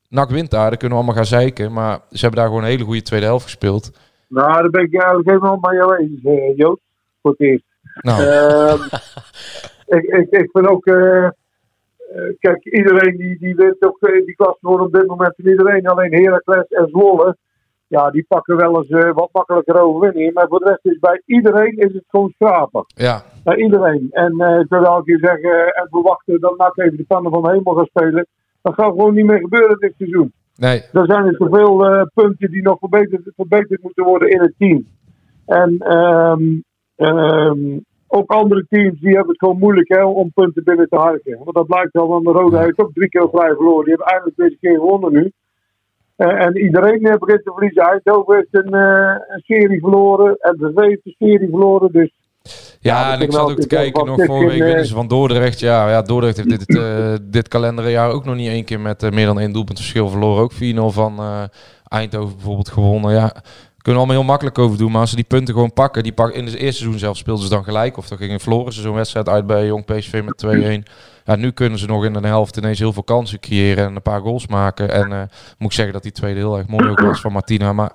S8: NAC wint daar, daar kunnen we allemaal gaan zeiken. Maar ze hebben daar gewoon een hele goede tweede helft gespeeld.
S11: nou, daar ben ik eigenlijk helemaal bij jou eens, eh, Joost. Voor het eerst.
S8: Nou,
S11: Ehm, ik, ik, ik vind ook. eh, eh, kijk, iedereen die, die wint ook. eh, Die klasse wordt op dit moment van iedereen. Alleen Heracles en Zwolle. Ja, die pakken wel eens eh, wat makkelijker overwinningen. Maar voor de rest is bij iedereen is het gewoon schrapen.
S8: ja,
S11: Bij iedereen. En eh, ik wil elke keer zeggen. eh, en verwachten dat NAC even de pannen van de hemel gaan spelen. Dat gaat gewoon niet meer gebeuren dit seizoen.
S8: nee,
S11: Er zijn er zoveel eh, punten die nog verbeterd, verbeterd moeten worden in het team. En ehm, ehm, ook andere teams die hebben het gewoon moeilijk hè, om punten binnen te harken. Want dat blijkt al, want de Rode heeft ook drie keer vrij verloren. Die hebben eindelijk deze keer gewonnen nu. Eh, en iedereen eh, begint te verliezen. Eindhoven heeft een, eh, een serie verloren. MVV heeft een serie verloren. Dus
S8: Ja, en ik eh, zat ook te kijken nog vorige week winnen ze van Dordrecht. Ja, ja Dordrecht heeft [laughs] dit, eh, dit kalenderjaar ook nog niet één keer met eh, meer dan één doelpunt verschil verloren. Ook 4-0 van eh, Eindhoven bijvoorbeeld gewonnen. Ja, kunnen we allemaal heel makkelijk over doen. Maar als ze die punten gewoon pakken, die pak, in het eerste seizoen zelf speelden ze dan gelijk. Of dan gingen verloren ze zo'n wedstrijd uit bij Jong PSV [clears throat] met 2-1. Ja, nu kunnen ze nog in de helft ineens heel veel kansen creëren en een paar goals maken. En eh, moet ik zeggen dat die tweede heel erg mooi ook was van Martina. Maar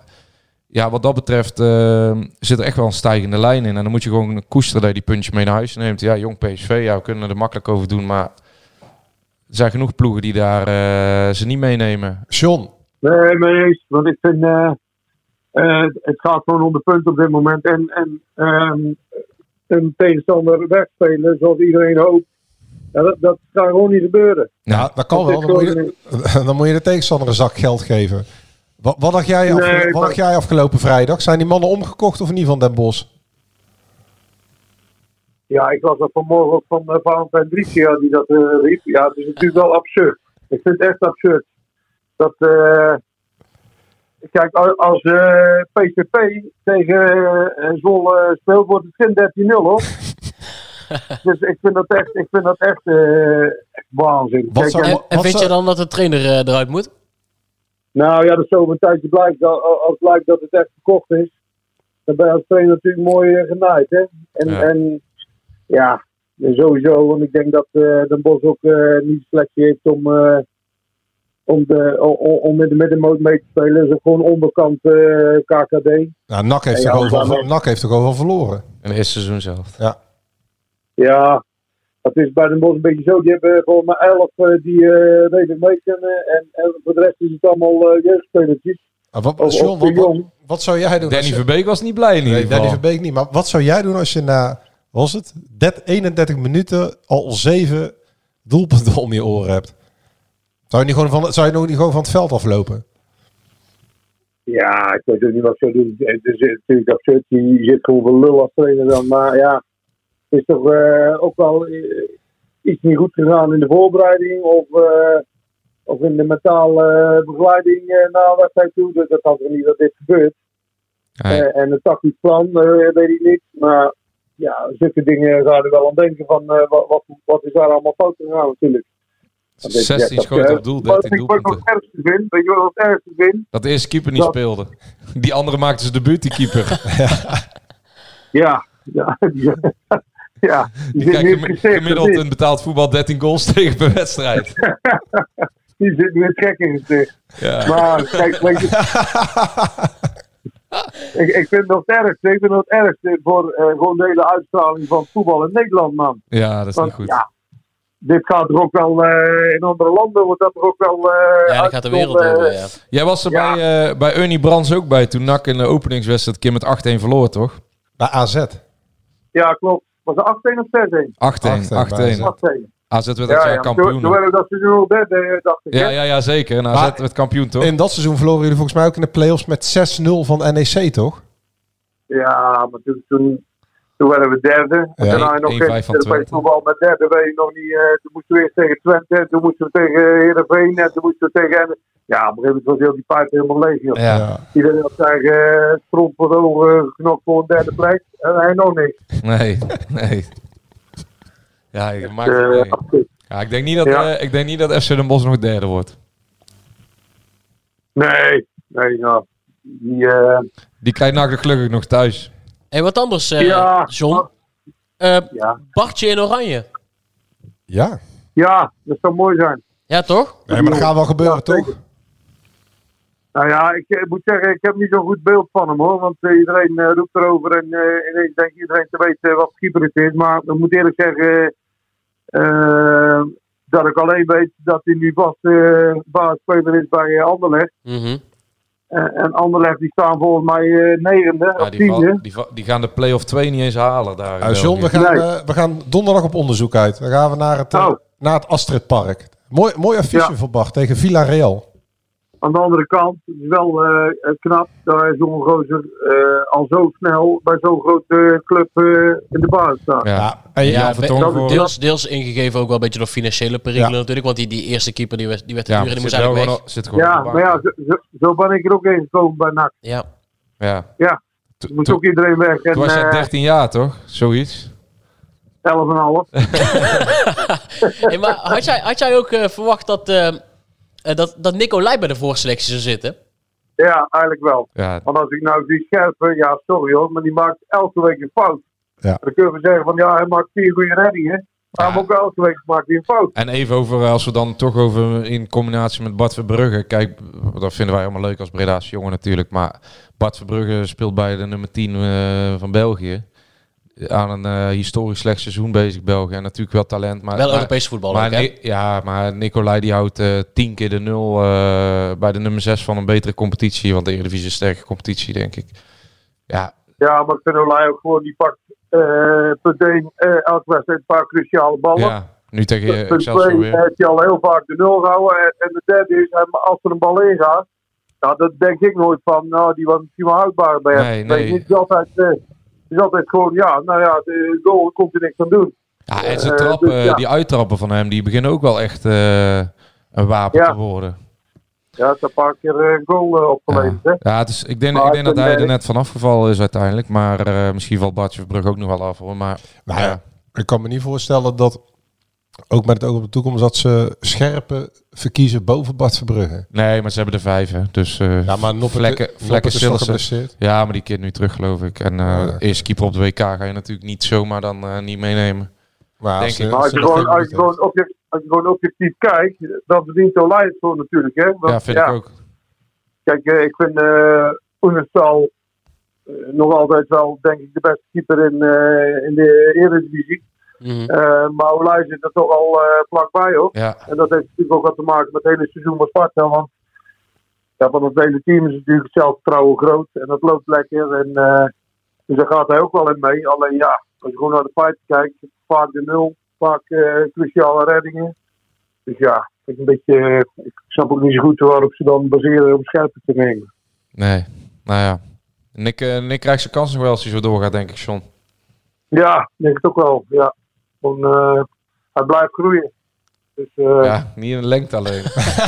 S8: ja, wat dat betreft eh, zit er echt wel een stijgende lijn in. En dan moet je gewoon koesteren dat je die puntje mee naar huis neemt. Ja, jong PSV, ja, we kunnen er makkelijk over doen. Maar er zijn genoeg ploegen die daar eh, ze niet meenemen.
S7: John,
S11: Nee, mee eens. Want ik vind. eh, eh, het gaat gewoon om de punten op dit moment. En, en ehm, een tegenstander wegspelen zoals iedereen hoopt. Ja, dat, dat gaat gewoon niet gebeuren.
S7: ja, nou, dat kan
S11: dat
S7: wel.
S11: is
S7: Dan moet,
S11: gewoon
S7: je, [laughs] dan moet je de tegenstander een zak geld geven. Wat, wat, dacht jij afge-
S11: Nee,
S7: wat
S11: maar-
S7: dacht jij afgelopen vrijdag? Zijn die mannen omgekocht of niet van Den Bosch?
S11: Ja, ik las dat vanmorgen ook van eh, Valentijn Driesia die dat eh, riep. Ja, het is natuurlijk wel absurd. Ik vind het echt absurd. Dat, eh, kijk, a- als eh, PCP tegen eh, Zwolle speelt, wordt het geen 13-0 hoor. dus ik vind dat echt, ik vind dat echt, eh, echt waanzin.
S7: Wat zou-
S11: Kijk, en-
S6: En, en
S7: Wat
S6: vind
S7: zou-
S6: je dan dat de trainer eh, eruit moet?
S11: Nou ja, dat is over een tijdje blijkt. Al- al- Als blijkt dat het echt verkocht is, dan ben je als trainer natuurlijk mooi eh, genaaid. Hè? En,
S8: Ja.
S11: en ja, sowieso. Want ik denk dat eh Den Bos ook eh, niet het plekje heeft om, eh, om, de, o- o- om in de middenmoot mee te spelen. Dus gewoon onderkant eh, KKD.
S7: Nou, NAC heeft,
S11: Ja,
S7: toch
S11: ja,
S7: overal,
S11: maar-
S7: NAC heeft toch overal verloren?
S8: In het eerste seizoen zelf.
S11: Ja, dat is bij Den Bosch een beetje zo. Die hebben gewoon maar elf eh, die eh redelijk mee kunnen. En, en voor de rest is het allemaal eh jeugdspelertjes.
S7: Ah, Wat,
S11: Of-
S7: John,
S11: of de
S7: wat, wat,
S11: jong.
S7: wat zou jij doen?
S8: Danny
S7: als je-
S8: Verbeek was niet blij in ieder
S7: Nee,
S8: geval.
S7: Danny Verbeek niet. Maar wat zou jij doen als je na, was het, dat 31 minuten al zeven doelpunten om je oren hebt? Zou je, niet gewoon van, zou je nog niet gewoon van het veld aflopen?
S11: Ja, ik weet ook niet wat ze doen. Het is natuurlijk absurd. Je zit gewoon voor lul als trainer dan. Maar ja, het is toch eh, ook wel eh, iets niet goed gegaan in de voorbereiding. Of eh, of in de mentale begeleiding eh, na de wedstrijd toe. Dus dat hadden we niet dat dit gebeurt.
S8: Nee.
S11: Eh, en een tactisch plan eh, weet ik niet. Maar ja, zulke dingen zou er wel aan denken van eh, wat, wat, wat is daar allemaal fout gegaan natuurlijk. Want dit is echt
S8: 16
S11: dat,
S8: schoten
S11: eh,
S8: op doel,
S11: maar
S8: 13
S11: ik word nog
S8: doelpunten.
S11: ergste vind. Weet je wat het ergste vind?
S8: Dat de eerste keeper niet
S11: Dat-
S8: speelde. Die andere maakte zijn debuut, die [laughs] keeper.
S11: Ja, ja. [laughs] ja.
S8: Die
S11: zit nu
S8: kijkt
S11: in het
S8: gemi-
S11: gezicht,
S8: gemiddeld
S11: precies.
S8: in betaald voetbal 13 goals [laughs] tegen per wedstrijd.
S11: Die zit nu trek in het gezicht.
S8: Ja.
S11: Maar kijk, weet je...
S8: [laughs]
S11: ik, ik vind dat het ergste. Ik vind dat het ergste voor eh, gewoon de hele uitstraling van voetbal in Nederland, man.
S8: ja, dat is niet
S11: Want
S8: goed.
S11: ja, dit gaat er ook wel... eh, in andere landen wordt dat er ook wel... eh,
S6: Ja, dat gaat de wereld
S11: uitgezonden,
S6: over,
S11: eh,
S6: ja.
S8: Jij was er
S11: Ja.
S8: bij, eh, bij Ernie Brands ook bij toen NAC in de openingswedstrijd een keer met 8-1 verloor, toch? 8-1, 8-1.
S7: Bij AZ.
S11: Ja, klopt. Was het 8-1 of 6-1?
S7: 8-1 bij
S11: 8-1.
S8: AZ werd dat
S11: Ja,
S8: jaar
S11: ja. Toen
S8: kampioen.
S11: toen
S8: hoor.
S11: werden we dat seizoen al derde, eh, dacht ik. hè?
S8: Ja, ja, ja, zeker. En AZ
S7: Maar-
S8: werd kampioen, toch?
S7: In dat seizoen verloren jullie volgens mij ook in de play-offs met 6-0 van NEC, toch?
S11: Ja, maar toen, toen, toen werden we derde. En
S7: Ja,
S11: daarna nog
S8: 1-5 van
S11: geen Europees
S8: Twente.
S11: voetbal met derde. Weet je nog niet, eh, toen moesten we eerst tegen Twente, toen moesten we tegen Heerenveen en toen moesten we tegen... Ja, op een gegeven moment was heel die paard helemaal leeg. joh.
S8: Ja.
S11: Iedereen had zijn eh, stront voor de ogen geknopt voor een derde plek. En hij nog niks.
S8: Nee, nee. Ja, ik, maak,
S11: Eh,
S8: nee.
S11: ja, goed.
S8: Ja, ik, denk niet dat,
S11: Ja.
S8: eh, ik denk niet dat FC Den Bosch nog derde wordt.
S11: nee, nee, nou. Die, eh,
S8: Die krijgt NAC gelukkig nog thuis.
S6: hey, wat anders, eh
S11: Ja.
S6: John. Eh,
S11: ja.
S6: Bartje in oranje.
S7: Ja.
S11: ja, dat zou mooi zijn.
S6: Ja, toch?
S7: Nee, maar dat gaat wel gebeuren, toch?
S11: Nou ja, ik, eh, moet zeggen, ik heb niet zo'n goed beeld van hem hoor. Want eh, iedereen eh, roept erover en eh, ineens denkt iedereen te weten eh, wat keeper het is. Maar ik moet eerlijk zeggen eh, dat ik alleen weet dat hij nu vast eh basisspeler is bij eh, Anderlecht.
S6: Mhm.
S11: Eh, en Anderlecht die staan volgens mij eh, negende
S8: Ja,
S11: of
S8: die, val-
S11: tiende.
S8: die, va- die gaan de play-off 2 niet eens halen daar. in
S7: Eh, John,
S8: België.
S7: we gaan,
S11: Nee.
S7: eh, we gaan donderdag op onderzoek uit. Dan gaan we naar het, eh,
S11: Oh.
S7: naar het Astridpark. Mooi, mooi affiche
S11: Ja.
S7: voor Bart tegen Villarreal.
S11: Aan de andere kant, het is wel eh, knap dat hij zo'n gozer eh, al zo snel bij zo'n grote club eh, in de basis staat.
S8: Ja.
S7: en je-
S6: Ja,
S8: Vertongen
S11: dat-
S8: voor-
S11: dat-
S6: deels, deels ingegeven ook wel een beetje door financiële perikelen
S7: Ja.
S6: natuurlijk. Want die, die eerste keeper die werd, die werd de
S8: Ja,
S6: duur en die
S8: zit
S6: moest
S8: wel
S6: eigenlijk weg.
S8: gewoon, al- zit gewoon
S11: Ja,
S8: op de
S11: maar ja,
S8: bank.
S11: zo, zo- zo ben ik er ook eens gekomen bij NAC.
S6: Ja.
S8: ja.
S11: Ja,
S8: Toen-
S11: moest
S8: toen-
S11: ook iedereen weg. En
S8: Toen was jij
S11: eh 11,5.
S8: 13 jaar, toch? Zoiets.
S6: Hey,
S8: [laughs]
S6: maar had jij, had jij ook eh, verwacht dat, eh, eh, dat, dat Nicolai bij de voorselectie zou zitten?
S11: Ja, eigenlijk wel.
S8: Ja,
S11: Want als ik nou die scherpe, ja, sorry hoor, maar die maakt elke week een fout.
S7: Ja.
S11: Dan kun je zeggen van ja, hij maakt vier goede reddingen. Maar
S8: Ja.
S11: hem ook elke week maakt hij een fout.
S8: En even over, eh, als we dan toch over eh, in combinatie met Bart Verbrugge. Kijk, dat vinden wij allemaal leuk als Breda's jongen natuurlijk. Maar Bart Verbrugge speelt bij de nummer 10 eh, van België. Aan een eh, historisch slecht seizoen bezig België. En natuurlijk wel talent. Maar,
S6: wel
S8: maar-
S6: Europees voetbal
S8: maar
S6: ook, hè?
S8: Ni- ja, maar Nicolai die houdt eh, tien keer de nul eh, bij de nummer 6 van een betere competitie. Want de Eredivisie is een sterke competitie, denk ik. Ja,
S11: Ja, maar Fenolai ook gewoon, die pakt eh punt één, eh, elke wedstrijd een paar cruciale ballen.
S8: ja. nu tegen
S11: punt
S8: eh, Excelsior
S11: twee
S8: weer.
S11: heeft hij al heel vaak de nul gehouden. En, en de derde is, eh, maar als er een bal in gaat, nou, dat denk ik nooit van, nou, die was misschien wel houdbaar bij hem.
S8: Nee,
S11: Weet je,
S8: nee.
S11: Het is altijd, eh, het is altijd gewoon, ja, nou ja, de goal komt er niks aan doen.
S8: Ja, en zijn
S11: Eh,
S8: trappen,
S11: dus ja.
S8: die uittrappen van hem, die beginnen ook wel echt eh, een wapen
S11: Ja.
S8: te worden.
S11: Ja, het is een paar keer eh, een goal eh, opgeleverd. hè.
S8: Ja, ja het is, ik denk,
S11: Maar
S8: ik denk dat
S11: ik ben,
S8: hij er
S11: eh,
S8: net van afgevallen is uiteindelijk. Maar eh, misschien valt Bartje Verbrug ook nog wel af hoor. Maar
S7: Nou
S8: ja.
S7: ja, ik kan me niet voorstellen dat, ook met het oog op de toekomst, dat ze scherpe verkiezen boven Bart Verbrugge.
S8: nee, maar ze hebben er vijf hè. Dus eh,
S7: Ja, maar Noppert,
S8: vlekken,
S7: Noppert
S8: vlekken
S7: is nog
S8: Sillissen.
S7: geblesseerd.
S8: Ja, maar die keert nu terug geloof ik. En eh
S7: Ja.
S8: eerste keeper op de WK ga je natuurlijk niet zomaar dan eh, niet meenemen.
S7: Maar
S8: Denk
S7: als,
S8: ik.
S7: eh,
S11: Maar als
S7: als
S11: je,
S7: ze dat
S11: gewoon,
S7: helemaal
S11: als, je
S7: niet heeft.
S11: gewoon object- als je gewoon objectief kijkt, dan verdient Olij het gewoon natuurlijk. Hè? Want,
S8: ja, vind ik ook.
S11: Kijk, eh, ik vind eh Oenestal eh, nog altijd wel, denk ik, de beste keeper in, eh, in de Eredivisie.
S6: Mhm.
S11: Eh, maar Olij zit er toch al eh, vlakbij hoor.
S8: Ja,
S11: En dat heeft natuurlijk ook wat te maken met het hele seizoen van Sparta. Want ja, van het hele team is natuurlijk het zelfvertrouwen groot. En dat loopt lekker. En, eh, dus daar gaat hij ook wel in mee. Alleen ja, als je gewoon naar de fight kijkt. Vaak de nul. Vaak eh, cruciale reddingen. Dus ja, ik, een beetje, eh, ik snap ook niet zo goed waarop ze dan baseren om scherper te nemen.
S8: nee. Nou ja. Nick, eh, Nick krijgt zijn kans nog wel als hij zo doorgaat, denk ik, John.
S11: Ja, denk ik ook wel. Ja. Gewoon, eh, hij blijft groeien. Dus, eh,
S8: Ja, niet in de lengte alleen. [laughs]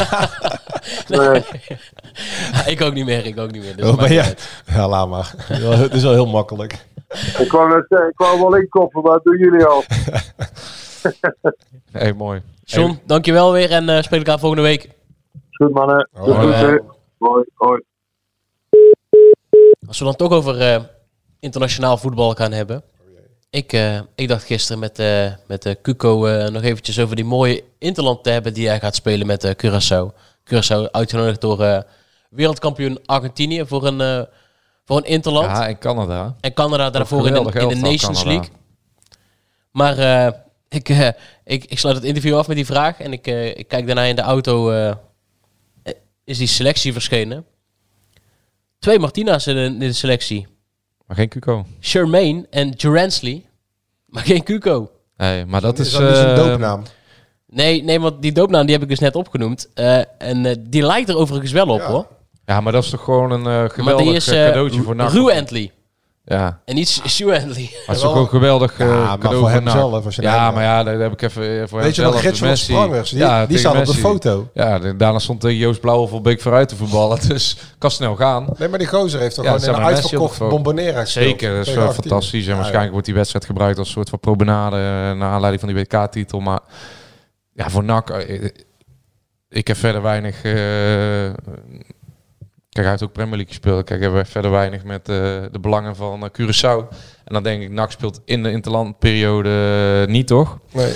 S11: nee.
S6: ik ook niet meer, ik ook niet meer. Dus
S7: Oh,
S6: maakt
S7: ben
S6: niet
S7: je-
S6: uit.
S7: Ja, [laughs] laat
S8: [laughs]
S7: maar. Het is wel heel makkelijk.
S11: ik, wou net zeggen, ik wou wel inkoppen, maar dat doen jullie al.
S8: hey, mooi.
S6: John, dankjewel weer en eh speel elkaar volgende week.
S11: Is Goed mannen. Doei,
S8: Hoi.
S11: doei. Hoi, hoi.
S6: Als we dan toch over eh, internationaal voetbal gaan hebben. Ik, eh, ik dacht gisteren met, eh met eh, Cuco eh, nog eventjes over die mooie Interland te hebben die hij gaat spelen met eh, Curaçao. Curaçao uitgenodigd door eh, wereldkampioen Argentinië voor een, eh, voor een Interland.
S8: Ja, in Canada.
S6: En Canada daarvoor in de,
S8: geweldig
S6: in de
S8: elftal,
S6: Nations
S8: Canada.
S6: League. Maar eh, ik, eh, ik, ik sluit het interview af met die vraag. En ik, eh, ik kijk daarna in de auto. eh, eh, is die selectie verschenen? Twee Martina's in de, in de selectie.
S8: Maar geen Cuco.
S6: Charmaine en Duransley. Maar geen Cuco.
S8: Nee, maar dat is...
S7: dat niet zijn
S8: eh,
S7: doopnaam?
S6: Nee, nee, want die doopnaam die heb ik dus net opgenoemd. Eh, en eh, die lijkt er overigens wel op,
S7: Ja.
S6: hoor.
S8: Ja, maar dat is toch gewoon een eh,
S6: Maar
S8: geweldig
S6: die is
S8: eh,
S6: eh
S8: cadeautje voor NAC.
S6: Ru Antley.
S8: Ja,
S6: En niet Sue Antley.
S8: maar het is toch ook een geweldig eh,
S7: Ja, maar
S8: cadeau
S7: voor hem
S8: NAC.
S7: zelf, als je
S8: Ja,
S7: nou-
S8: maar ja, daar heb ik even eh, voor
S7: Weet je
S8: hem
S7: nog,
S8: zelf,
S7: Gertjan
S8: Messi.
S7: Sprangers, die,
S8: Ja,
S7: die
S8: tegen
S7: staat op de
S8: Messi.
S7: foto.
S8: Ja, de- daarna stond tegen Joost Blauw of Beek vooruit te voetballen. [laughs] Dus kan snel gaan.
S7: Nee, maar die gozer heeft toch
S8: Ja,
S7: gewoon
S8: ze
S7: in een
S8: hebben Messi
S7: uitverkocht
S8: op de foto.
S7: Bombonera gespeeld.
S8: Zeker, dat is
S7: Tegen
S8: wel
S7: 18.
S8: fantastisch. En
S7: Ja,
S8: waarschijnlijk wordt die wedstrijd gebruikt als soort van probenade eh, naar aanleiding van die WK-titel. Maar ja, voor NAC, eh, eh, ik heb verder weinig... eh, kijk, hij heeft ook Premier League gespeeld. Kijk, hebben we verder weinig met eh, de belangen van eh, Curaçao. En dan denk ik, NAC speelt in de interlandperiode eh, niet, toch?
S7: Nee.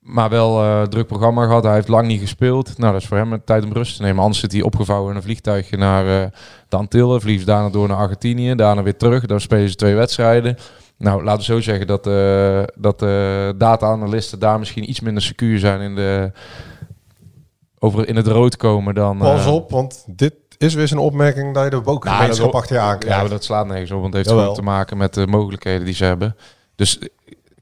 S8: Maar wel eh, druk programma gehad. Hij heeft lang niet gespeeld. Nou, dat is voor hem een tijd om rust te nemen. Anders zit hij opgevouwen in een vliegtuigje naar eh, de Antillen. Vliegt daarna door naar Argentinië. Daarna weer terug. Dan spelen ze twee wedstrijden. Nou, laten we zo zeggen dat, eh dat eh, data-analisten daar misschien iets minder secuur zijn in de... Over in het rood komen dan... eh,
S7: Pas op, want dit is weer zo'n opmerking dat je de
S8: Nou, dat
S7: bokengemeenschap
S8: ho-
S7: achter je aan
S8: Ja, maar
S7: krijgt.
S8: dat slaat nergens op, want het heeft
S7: Jawel.
S8: gewoon te maken met de mogelijkheden die ze hebben. Dus eh,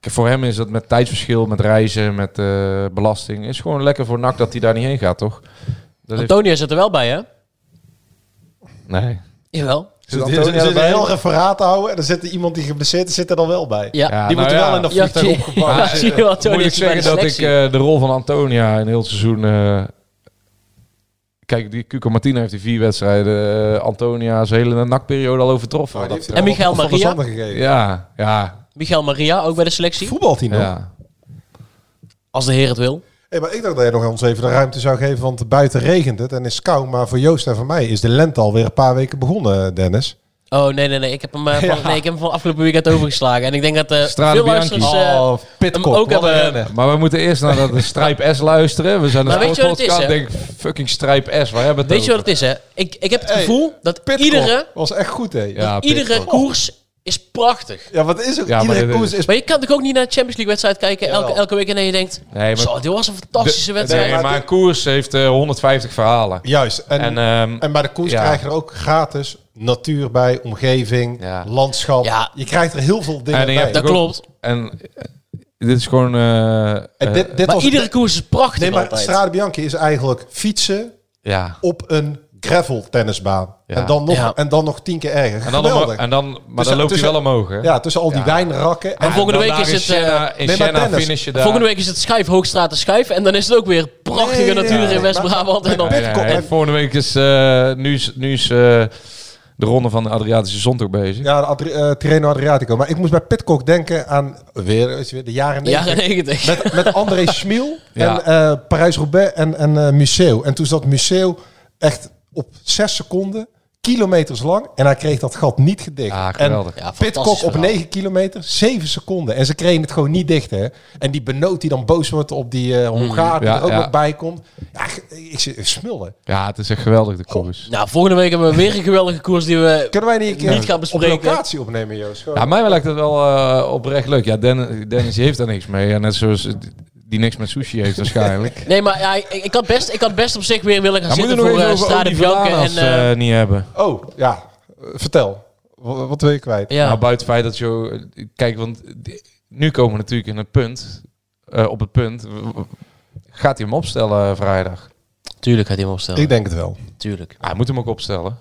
S8: voor hem is dat met tijdsverschil, met reizen, met eh, belasting, is gewoon lekker voor NAC dat hij daar niet heen gaat, toch? Dat heeft-
S6: Antonio zit er wel bij, hè?
S8: Nee.
S6: Jawel.
S7: Dus
S8: Zit
S7: er zit- er
S8: Antonio
S7: zit een
S8: erbij?
S7: heel referaat te houden en er zit iemand die geblesseerd is, zit er dan wel bij.
S6: Ja.
S8: Ja,
S7: Die
S8: nou
S7: moeten
S8: ja.
S7: wel in dat
S6: Ja,
S7: vliegtuig
S6: ja.
S7: opgepakt
S6: Ja,
S8: Maar,
S6: zie je
S8: eh,
S6: wel, Antonio
S8: moet ik
S6: is bij de
S8: zeggen dat ik
S6: selectie.
S8: eh, de rol van Antonia in heel het seizoen... eh, kijk, die Cuco Martina heeft die vier wedstrijden eh, Antonia zijn hele NAC-periode al overtroffen.
S7: Maar Oh, die
S8: Dat- eh,
S7: heeft
S6: En Michael
S7: allemaal van
S6: Maria?
S7: Sander gegeven.
S8: ja,
S7: eh,
S8: ja,
S6: Michael Maria, ook bij de selectie.
S7: Voetbalt hij nog?
S8: ja.
S6: Als de heer het wil.
S7: Hey, maar ik dacht dat je nog ons even de ruimte zou geven, want buiten regent het en is koud. Maar voor Joost en voor mij is de lente alweer een paar weken begonnen, Dennis.
S6: Oh, nee, nee, nee. Ik heb hem,
S7: [laughs]
S6: eh, van,
S7: Ja.
S6: nee, ik heb hem van afgelopen weekend overgeslagen. En ik denk dat eh
S8: Strade
S6: veel
S8: Bianchi.
S6: luisteraars... eh,
S7: Oh,
S6: hem ook
S7: wat een
S6: hebben-
S7: renner.
S8: Maar we moeten eerst naar dat Strijp S luisteren. We zijn een
S6: Maar weet je wat het is,
S8: sportpodcast. Ik
S6: hè?
S8: denk, fucking Strijp S, waar hebben we het
S6: weet je wat
S8: over?
S6: het is, hè? Ik, ik heb het
S7: Hey,
S6: gevoel dat
S7: Pitkop
S6: iedere,
S7: was echt goed, hè?
S8: Ja,
S6: iedere
S8: Pitcock.
S6: koers is prachtig.
S7: Ja, wat is ook?
S8: Ja, maar
S7: Iedere
S8: dit-
S7: koers is...
S6: Maar je kan toch ook niet naar de Champions League wedstrijd kijken elke,
S7: Jawel.
S6: elke week en dan je denkt...
S8: Nee, maar-
S6: Zo, dit was een fantastische
S8: De-
S6: wedstrijd.
S8: Nee, maar een koers heeft eh, 150 verhalen.
S7: Juist. En,
S8: En,
S7: en,
S8: ehm,
S7: bij de koers
S8: ja.
S7: krijg je er ook gratis natuur bij, omgeving,
S8: Ja.
S7: landschap.
S6: Ja.
S7: Je krijgt er heel veel dingen
S8: En je
S7: bij.
S8: hebt
S6: dat
S8: ook-
S6: klopt.
S8: En eh, dit is gewoon... eh,
S7: en
S8: eh,
S7: dit, dit
S6: Maar
S7: was
S6: iedere koers is prachtig
S7: Nee, maar
S6: altijd.
S7: Strade Bianchi is eigenlijk fietsen
S8: ja.
S7: op een gravel tennisbaan.
S8: Ja.
S7: En, dan nog,
S6: Ja.
S7: en dan nog tien keer erger.
S8: En dan,
S7: Geweldig.
S8: omho- en dan, maar
S7: Tussen-
S8: dan loopt
S7: tussen-
S8: hij wel omhoog, hè?
S7: ja, tussen al die
S8: Ja.
S7: wijnrakken. En,
S8: En
S6: volgende
S8: dan
S6: week
S8: daar
S6: is
S8: in
S6: het, eh,
S8: Siena- in
S7: Nee, maar
S8: Siena
S7: tennis.
S8: finish je daar.
S6: Volgende week is het schijf, hoogstraat en schijf. En dan is het ook weer prachtige
S7: Nee, nee,
S6: natuur
S7: nee,
S6: in West-Brabant. En dan...
S7: maar-
S8: Nee, nee,
S7: Pitcock.
S8: nee, volgende week is... eh, nu is, nu is eh, de ronde van de Adriatische Zon ook bezig.
S7: ja, de Adri eh, Tirreno Adriatico. Maar ik moest bij Pitcock denken aan weer, weet je weer, de jaren
S6: Jaren
S7: 90.
S6: negentig.
S7: Met, met André Schmiel
S8: [laughs] Ja.
S7: en eh, Parijs-Roubaix en, en eh, Museo. En toen zat Museo echt op zes seconden, kilometers lang. En hij kreeg dat gat niet gedicht.
S8: Ja,
S7: en
S8: Ah, geweldig.
S6: Ja, fantastisch
S7: Pitcock op
S6: verhaal.
S7: 9 kilometer, 7 seconden. En ze kregen het gewoon niet dicht, hè. En die benoot die dan boos wordt op die eh Hongaar, die
S8: Mm, Ja,
S7: er ook
S8: ja.
S7: nog bij komt. Ja, ik- ik zit ik smullen.
S8: Ja, het is echt geweldig, de koers.
S6: Nou, volgende week hebben we weer een geweldige koers die we...
S7: Kunnen wij niet, een keer
S6: Niet gaan bespreken.
S7: op locatie opnemen, Joost? Gewoon-
S8: Ja, mij lijkt het wel eh, oprecht leuk. Ja, Dennis, Dennis die heeft daar niks mee. Ja, net zoals eh, die niks met sushi heeft waarschijnlijk.
S6: Nee, maar ja, ik, ik, had best, ik had best op zich weer willen gaan
S8: Ja, moet je
S6: zitten
S8: nog
S6: voor
S8: even
S6: eh,
S8: over
S6: Strade
S8: Odi
S6: Bianca. En,
S8: Villanas,
S6: eh,
S8: eh, niet hebben.
S7: Oh, ja. Eh, vertel. Wat, wat wil je kwijt?
S6: ja.
S8: Nou, buiten het feit dat je... Kijk, want di- nu komen we natuurlijk in het punt, eh, op het punt... w- w- Gaat hij hem opstellen eh, vrijdag?
S6: Tuurlijk gaat hij hem opstellen.
S7: Ik denk het wel.
S6: Tuurlijk. [laughs]
S8: Hij moet hem ook opstellen.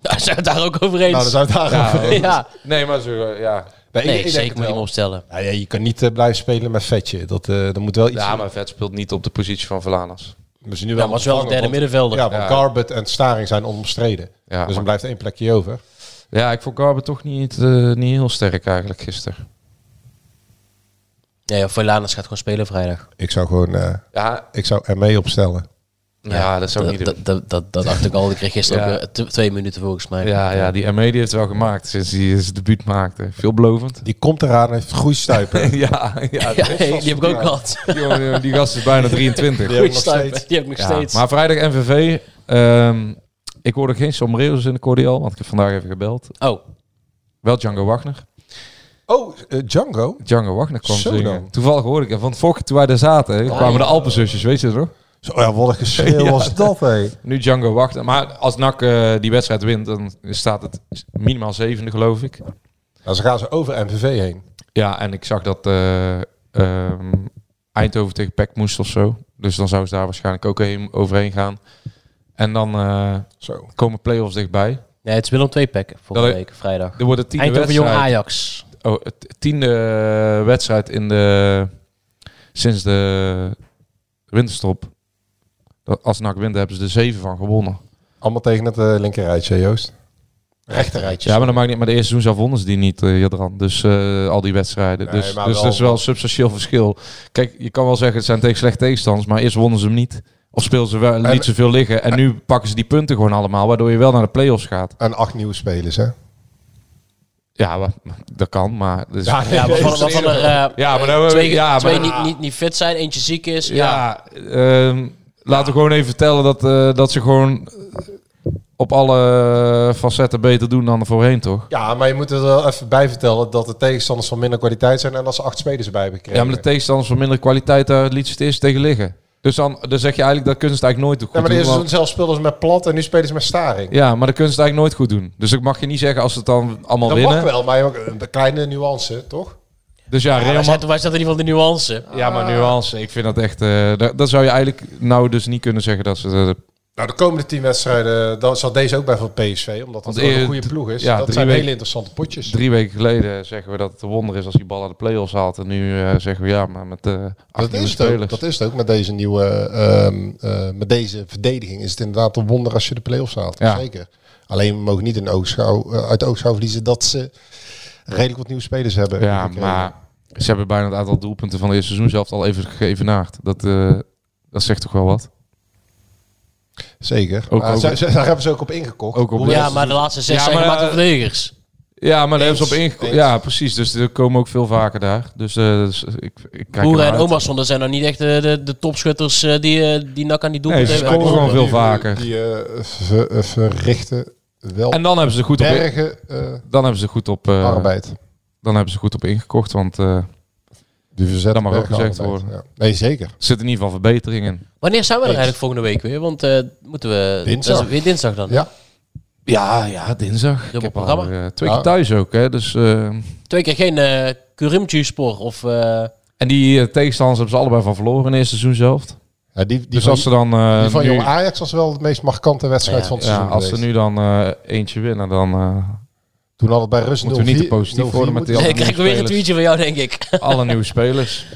S6: Daar zijn we het daar ook over eens.
S7: Nou, dan zou het daar
S6: [laughs]
S8: Ja,
S7: over-
S8: dat is-
S6: ja.
S8: Nee, maar zo, eh, ja.
S7: ik- ik
S6: Nee,
S7: denk
S6: zeker
S7: het
S6: moet je
S7: wel.
S6: hem opstellen.
S7: Nou ja, je kan niet eh, blijven spelen met Vetje. Dat, eh dat moet wel iets...
S8: Ja, maar Vet speelt niet op de positie van Valanas.
S7: maar ze nu
S6: Ja, maar het is wel een
S7: vervangen,
S6: derde
S7: want-
S6: middenvelder.
S7: Ja, want
S8: Ja.
S7: Garbett en Staring zijn onomstreden.
S8: Ja,
S7: dus
S8: maar-
S7: dan blijft één plekje over.
S8: Ja, ik vond Garber toch niet, eh, niet heel sterk eigenlijk gisteren.
S6: Nee, ja, Volanus gaat gewoon spelen vrijdag.
S7: Ik zou gewoon... eh,
S8: Ja,
S7: ik zou ermee opstellen.
S8: ja, dat zou ik niet doen.
S6: dat, dat, dat, dat dacht ik al. Ik kreeg gisteren
S8: Ja.
S6: ook eh, tw- twee minuten volgens mij.
S8: Ja, ja, die ME die heeft wel gemaakt sinds hij zijn debuut maakte. Veelbelovend.
S7: Die komt eraan en heeft [laughs] groeistuipen.
S8: [laughs] ja, ja,
S6: [laughs] Ja, die heb ik ook [laughs] gehad.
S8: Die, jongen, die gast is [laughs] bijna 23.
S7: Ja.
S8: Ja,
S7: nog
S6: Goeie stuip.
S7: steeds.
S6: Die heb ik nog steeds.
S8: maar vrijdag MVV. ehm, ik hoorde geen sombreros in de cordial, want ik heb vandaag even gebeld.
S6: Oh,
S8: Wel Django Wagner.
S7: oh, eh, Django.
S8: Django Wagner kwam
S7: Zo
S8: zingen.
S7: dan.
S8: Toevallig hoorde ik hem. Want vorige keer toen wij daar zaten, kwamen de Alpenzusjes, weet je dat nog?
S7: Zo, [laughs] ja, wat een geschreeuw
S8: Ja.
S7: was dat, hé.
S8: Nu Django Wagner. Maar als NAC eh, die wedstrijd wint, dan staat het minimaal zevende, geloof ik.
S7: Nou, ze gaan ze over MVV heen.
S8: Ja, en ik zag dat eh, ehm, Eindhoven tegen Peck moest of zo. Dus dan zou ze daar waarschijnlijk ook heen, overheen gaan. En dan eh,
S7: Zo.
S8: komen play-offs dichtbij.
S6: nee, het is Willem 2 pack volgende
S8: Dat-
S6: week, vrijdag.
S8: Er wordt de tiende
S6: Eindhoven Jong
S8: wedstrijd.
S6: Ajax.
S8: Oh, het tiende eh, wedstrijd in de, sinds de winterstop. Dat- Als NAC wint, hebben ze er zeven van gewonnen.
S7: Allemaal tegen het eh linkerrijtje, Joost.
S6: Rechterrijtje.
S8: Ja, maar dat maakt niet. Maar de eerste seizoen zelf wonnen ze die niet, eh Jadran. Dus eh, al die wedstrijden.
S7: Nee,
S8: dus
S7: maar
S8: dus
S7: wel-
S8: dat is wel een substantieel verschil. Kijk, je kan wel zeggen het zijn tegen slechte tegenstanders, maar eerst wonnen ze hem niet. Of speelden ze wel niet zoveel liggen. En nu pakken ze die punten gewoon allemaal, waardoor je wel naar de play-offs gaat.
S7: En acht nieuwe spelers, hè.
S8: Ja, maar- dat kan, maar... dat is- ja, [laughs]
S6: Ja, maar van, van er eh,
S8: Ja, maar dan-
S6: twee,
S8: ja, maar-
S6: twee niet, niet, niet fit zijn, eentje ziek is. Ja,
S8: ehm, laten we gewoon even vertellen dat, eh, dat ze gewoon op alle facetten beter doen dan voorheen, toch?
S7: Ja, maar je moet er wel even bij vertellen dat de tegenstanders van minder kwaliteit zijn en dat ze acht spelers erbij hebben
S8: Ja,
S7: gekregen.
S8: maar de tegenstanders van minder kwaliteit, daar liet ze het eerst tegen liggen. Dus dan, dan zeg je eigenlijk, dat kunnen ze het eigenlijk nooit goed
S7: Ja, maar de
S8: doen.
S7: eerste
S8: want-
S7: seizoen zelf speelden ze met plat en nu spelen ze met staring.
S8: Ja, maar dat kunnen ze het eigenlijk nooit goed doen. Dus dat mag je niet zeggen als ze het dan allemaal
S7: dat
S8: winnen.
S7: mag wel, maar je hebt ook een kleine nuance, toch?
S8: Dus ja,
S6: wij,
S8: Real Ma-
S6: zetten, wij zetten in ieder geval de nuance.
S8: Ja,
S7: Ah.
S8: maar nuance. Ik vind dat echt... eh dat, dat zou je eigenlijk nou dus niet kunnen zeggen dat ze... eh, de-
S7: Nou, de komende tien wedstrijden, dan zal deze ook bij van PSV, omdat dat
S8: Want
S7: wel een
S8: eer-
S7: goede ploeg is.
S8: ja,
S7: dat
S8: drie
S7: zijn
S8: weken-
S7: hele interessante potjes.
S8: drie weken geleden zeggen we dat het een wonder is als die bal aan de play-offs haalt. En nu eh, zeggen we ja, maar met eh acht
S7: dat,
S8: nieuwe
S7: is het ook,
S8: spelers.
S7: dat is het ook met deze nieuwe, ehm, eh, met deze verdediging is het inderdaad een wonder als je de play-offs haalt.
S8: Ja.
S7: Zeker. Alleen we mogen niet in oogschouw, eh, uit de oogschouw verliezen dat ze redelijk wat nieuwe spelers hebben.
S8: Ja,
S7: gekregen.
S8: maar ze hebben bijna het aantal doelpunten van het eerste seizoen zelf al even geëvenaard. Dat, eh, dat zegt toch wel wat?
S7: Zeker.
S8: Ook-
S7: Maar
S8: ook-
S7: ze- ze- daar hebben ze ook op ingekocht.
S8: Ook op-
S7: Hoewel-
S6: Ja, maar de laatste zes
S8: Ja,
S6: zijn
S8: maar,
S6: gemaakt door
S8: eh,
S6: verdedigers.
S8: Ja, maar daar
S7: Eens.
S8: hebben ze op ingekomen.
S7: Eens.
S8: Ja, precies. Dus er komen ook veel vaker daar. Dus, eh, dus ik, ik kijk
S6: Boeren en
S8: ernaar uit.
S6: Omarsson, dat zijn nou niet echt de, de, de topschutters eh, die, eh, die nak aan die
S8: Nee,
S6: doelpunt
S8: ze
S6: hebben.
S8: scoren gewoon veel
S7: die-
S8: vaker.
S7: Die eh, ver- eh, verrichten wel
S8: En dan hebben ze er goed op, in-
S7: bergen eh,
S8: dan hebben ze er goed op, eh,
S7: arbeid.
S8: dan hebben ze er goed op ingekocht. Want eh,
S7: Die verzet
S8: dat mag ook gezegd worden.
S7: Nee, zeker.
S8: er zit in ieder geval verbetering in.
S6: Wanneer zijn we er
S7: Eens.
S6: eigenlijk volgende week weer? Want eh, moeten we...
S7: Dinsdag.
S6: dat is weer dinsdag dan.
S7: Ja.
S8: Ja, ja, dinsdag. Ik heb al,
S6: programma.
S8: eh, twee
S7: Ja.
S8: keer thuis ook. Hè, dus, eh,
S6: Twee keer geen eh Kurimchu-spoor of... eh,
S8: en die eh, tegenstanders hebben ze allebei van verloren in het eerste seizoen zelf.
S7: Ja, die, die
S8: Dus
S7: van,
S8: als ze dan... eh,
S7: die van
S8: nu-
S7: Jong Ajax was wel de meest markante wedstrijd
S6: Ja,
S7: van het
S8: Ja,
S7: seizoen
S8: als ze
S7: geweest.
S8: nu dan eh, eentje winnen, dan eh,
S6: [laughs]
S7: Toen hadden we bij rust 0-4.
S8: Moeten we niet te positief
S7: 0-4
S8: worden met
S7: moeten
S8: die
S6: nee, [laughs]
S8: andere
S6: ik krijg weer een
S8: spelers.
S6: tweetje van jou, denk ik. [laughs]
S8: alle nieuwe spelers.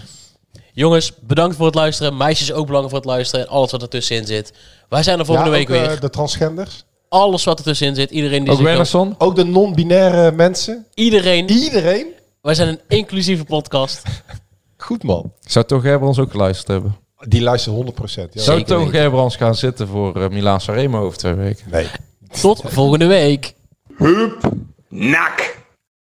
S6: Jongens, bedankt voor het luisteren. Meisjes ook bedankt voor het luisteren. En alles wat ertussenin zit. Wij zijn er
S7: Ja,
S6: volgende
S7: ook,
S6: week
S7: eh,
S6: weer.
S7: de transgenders.
S6: Alles wat ertussenin zit. Iedereen die
S8: Ook
S6: zich wil-
S8: Wernersson.
S7: Ook de non-binaire mensen.
S6: Iedereen.
S7: Iedereen.
S6: Wij zijn een inclusieve podcast.
S7: Goed man.
S8: Zou Toon Gerbrands ook geluisterd hebben?
S7: Die luisteren 100%. Ja.
S8: Zou
S6: Zeker
S8: Toon
S6: weten.
S8: Gerbrands gaan zitten voor eh, Milaan Sanremo over twee weken?
S7: Nee.
S6: Tot volgende week.
S3: Nak.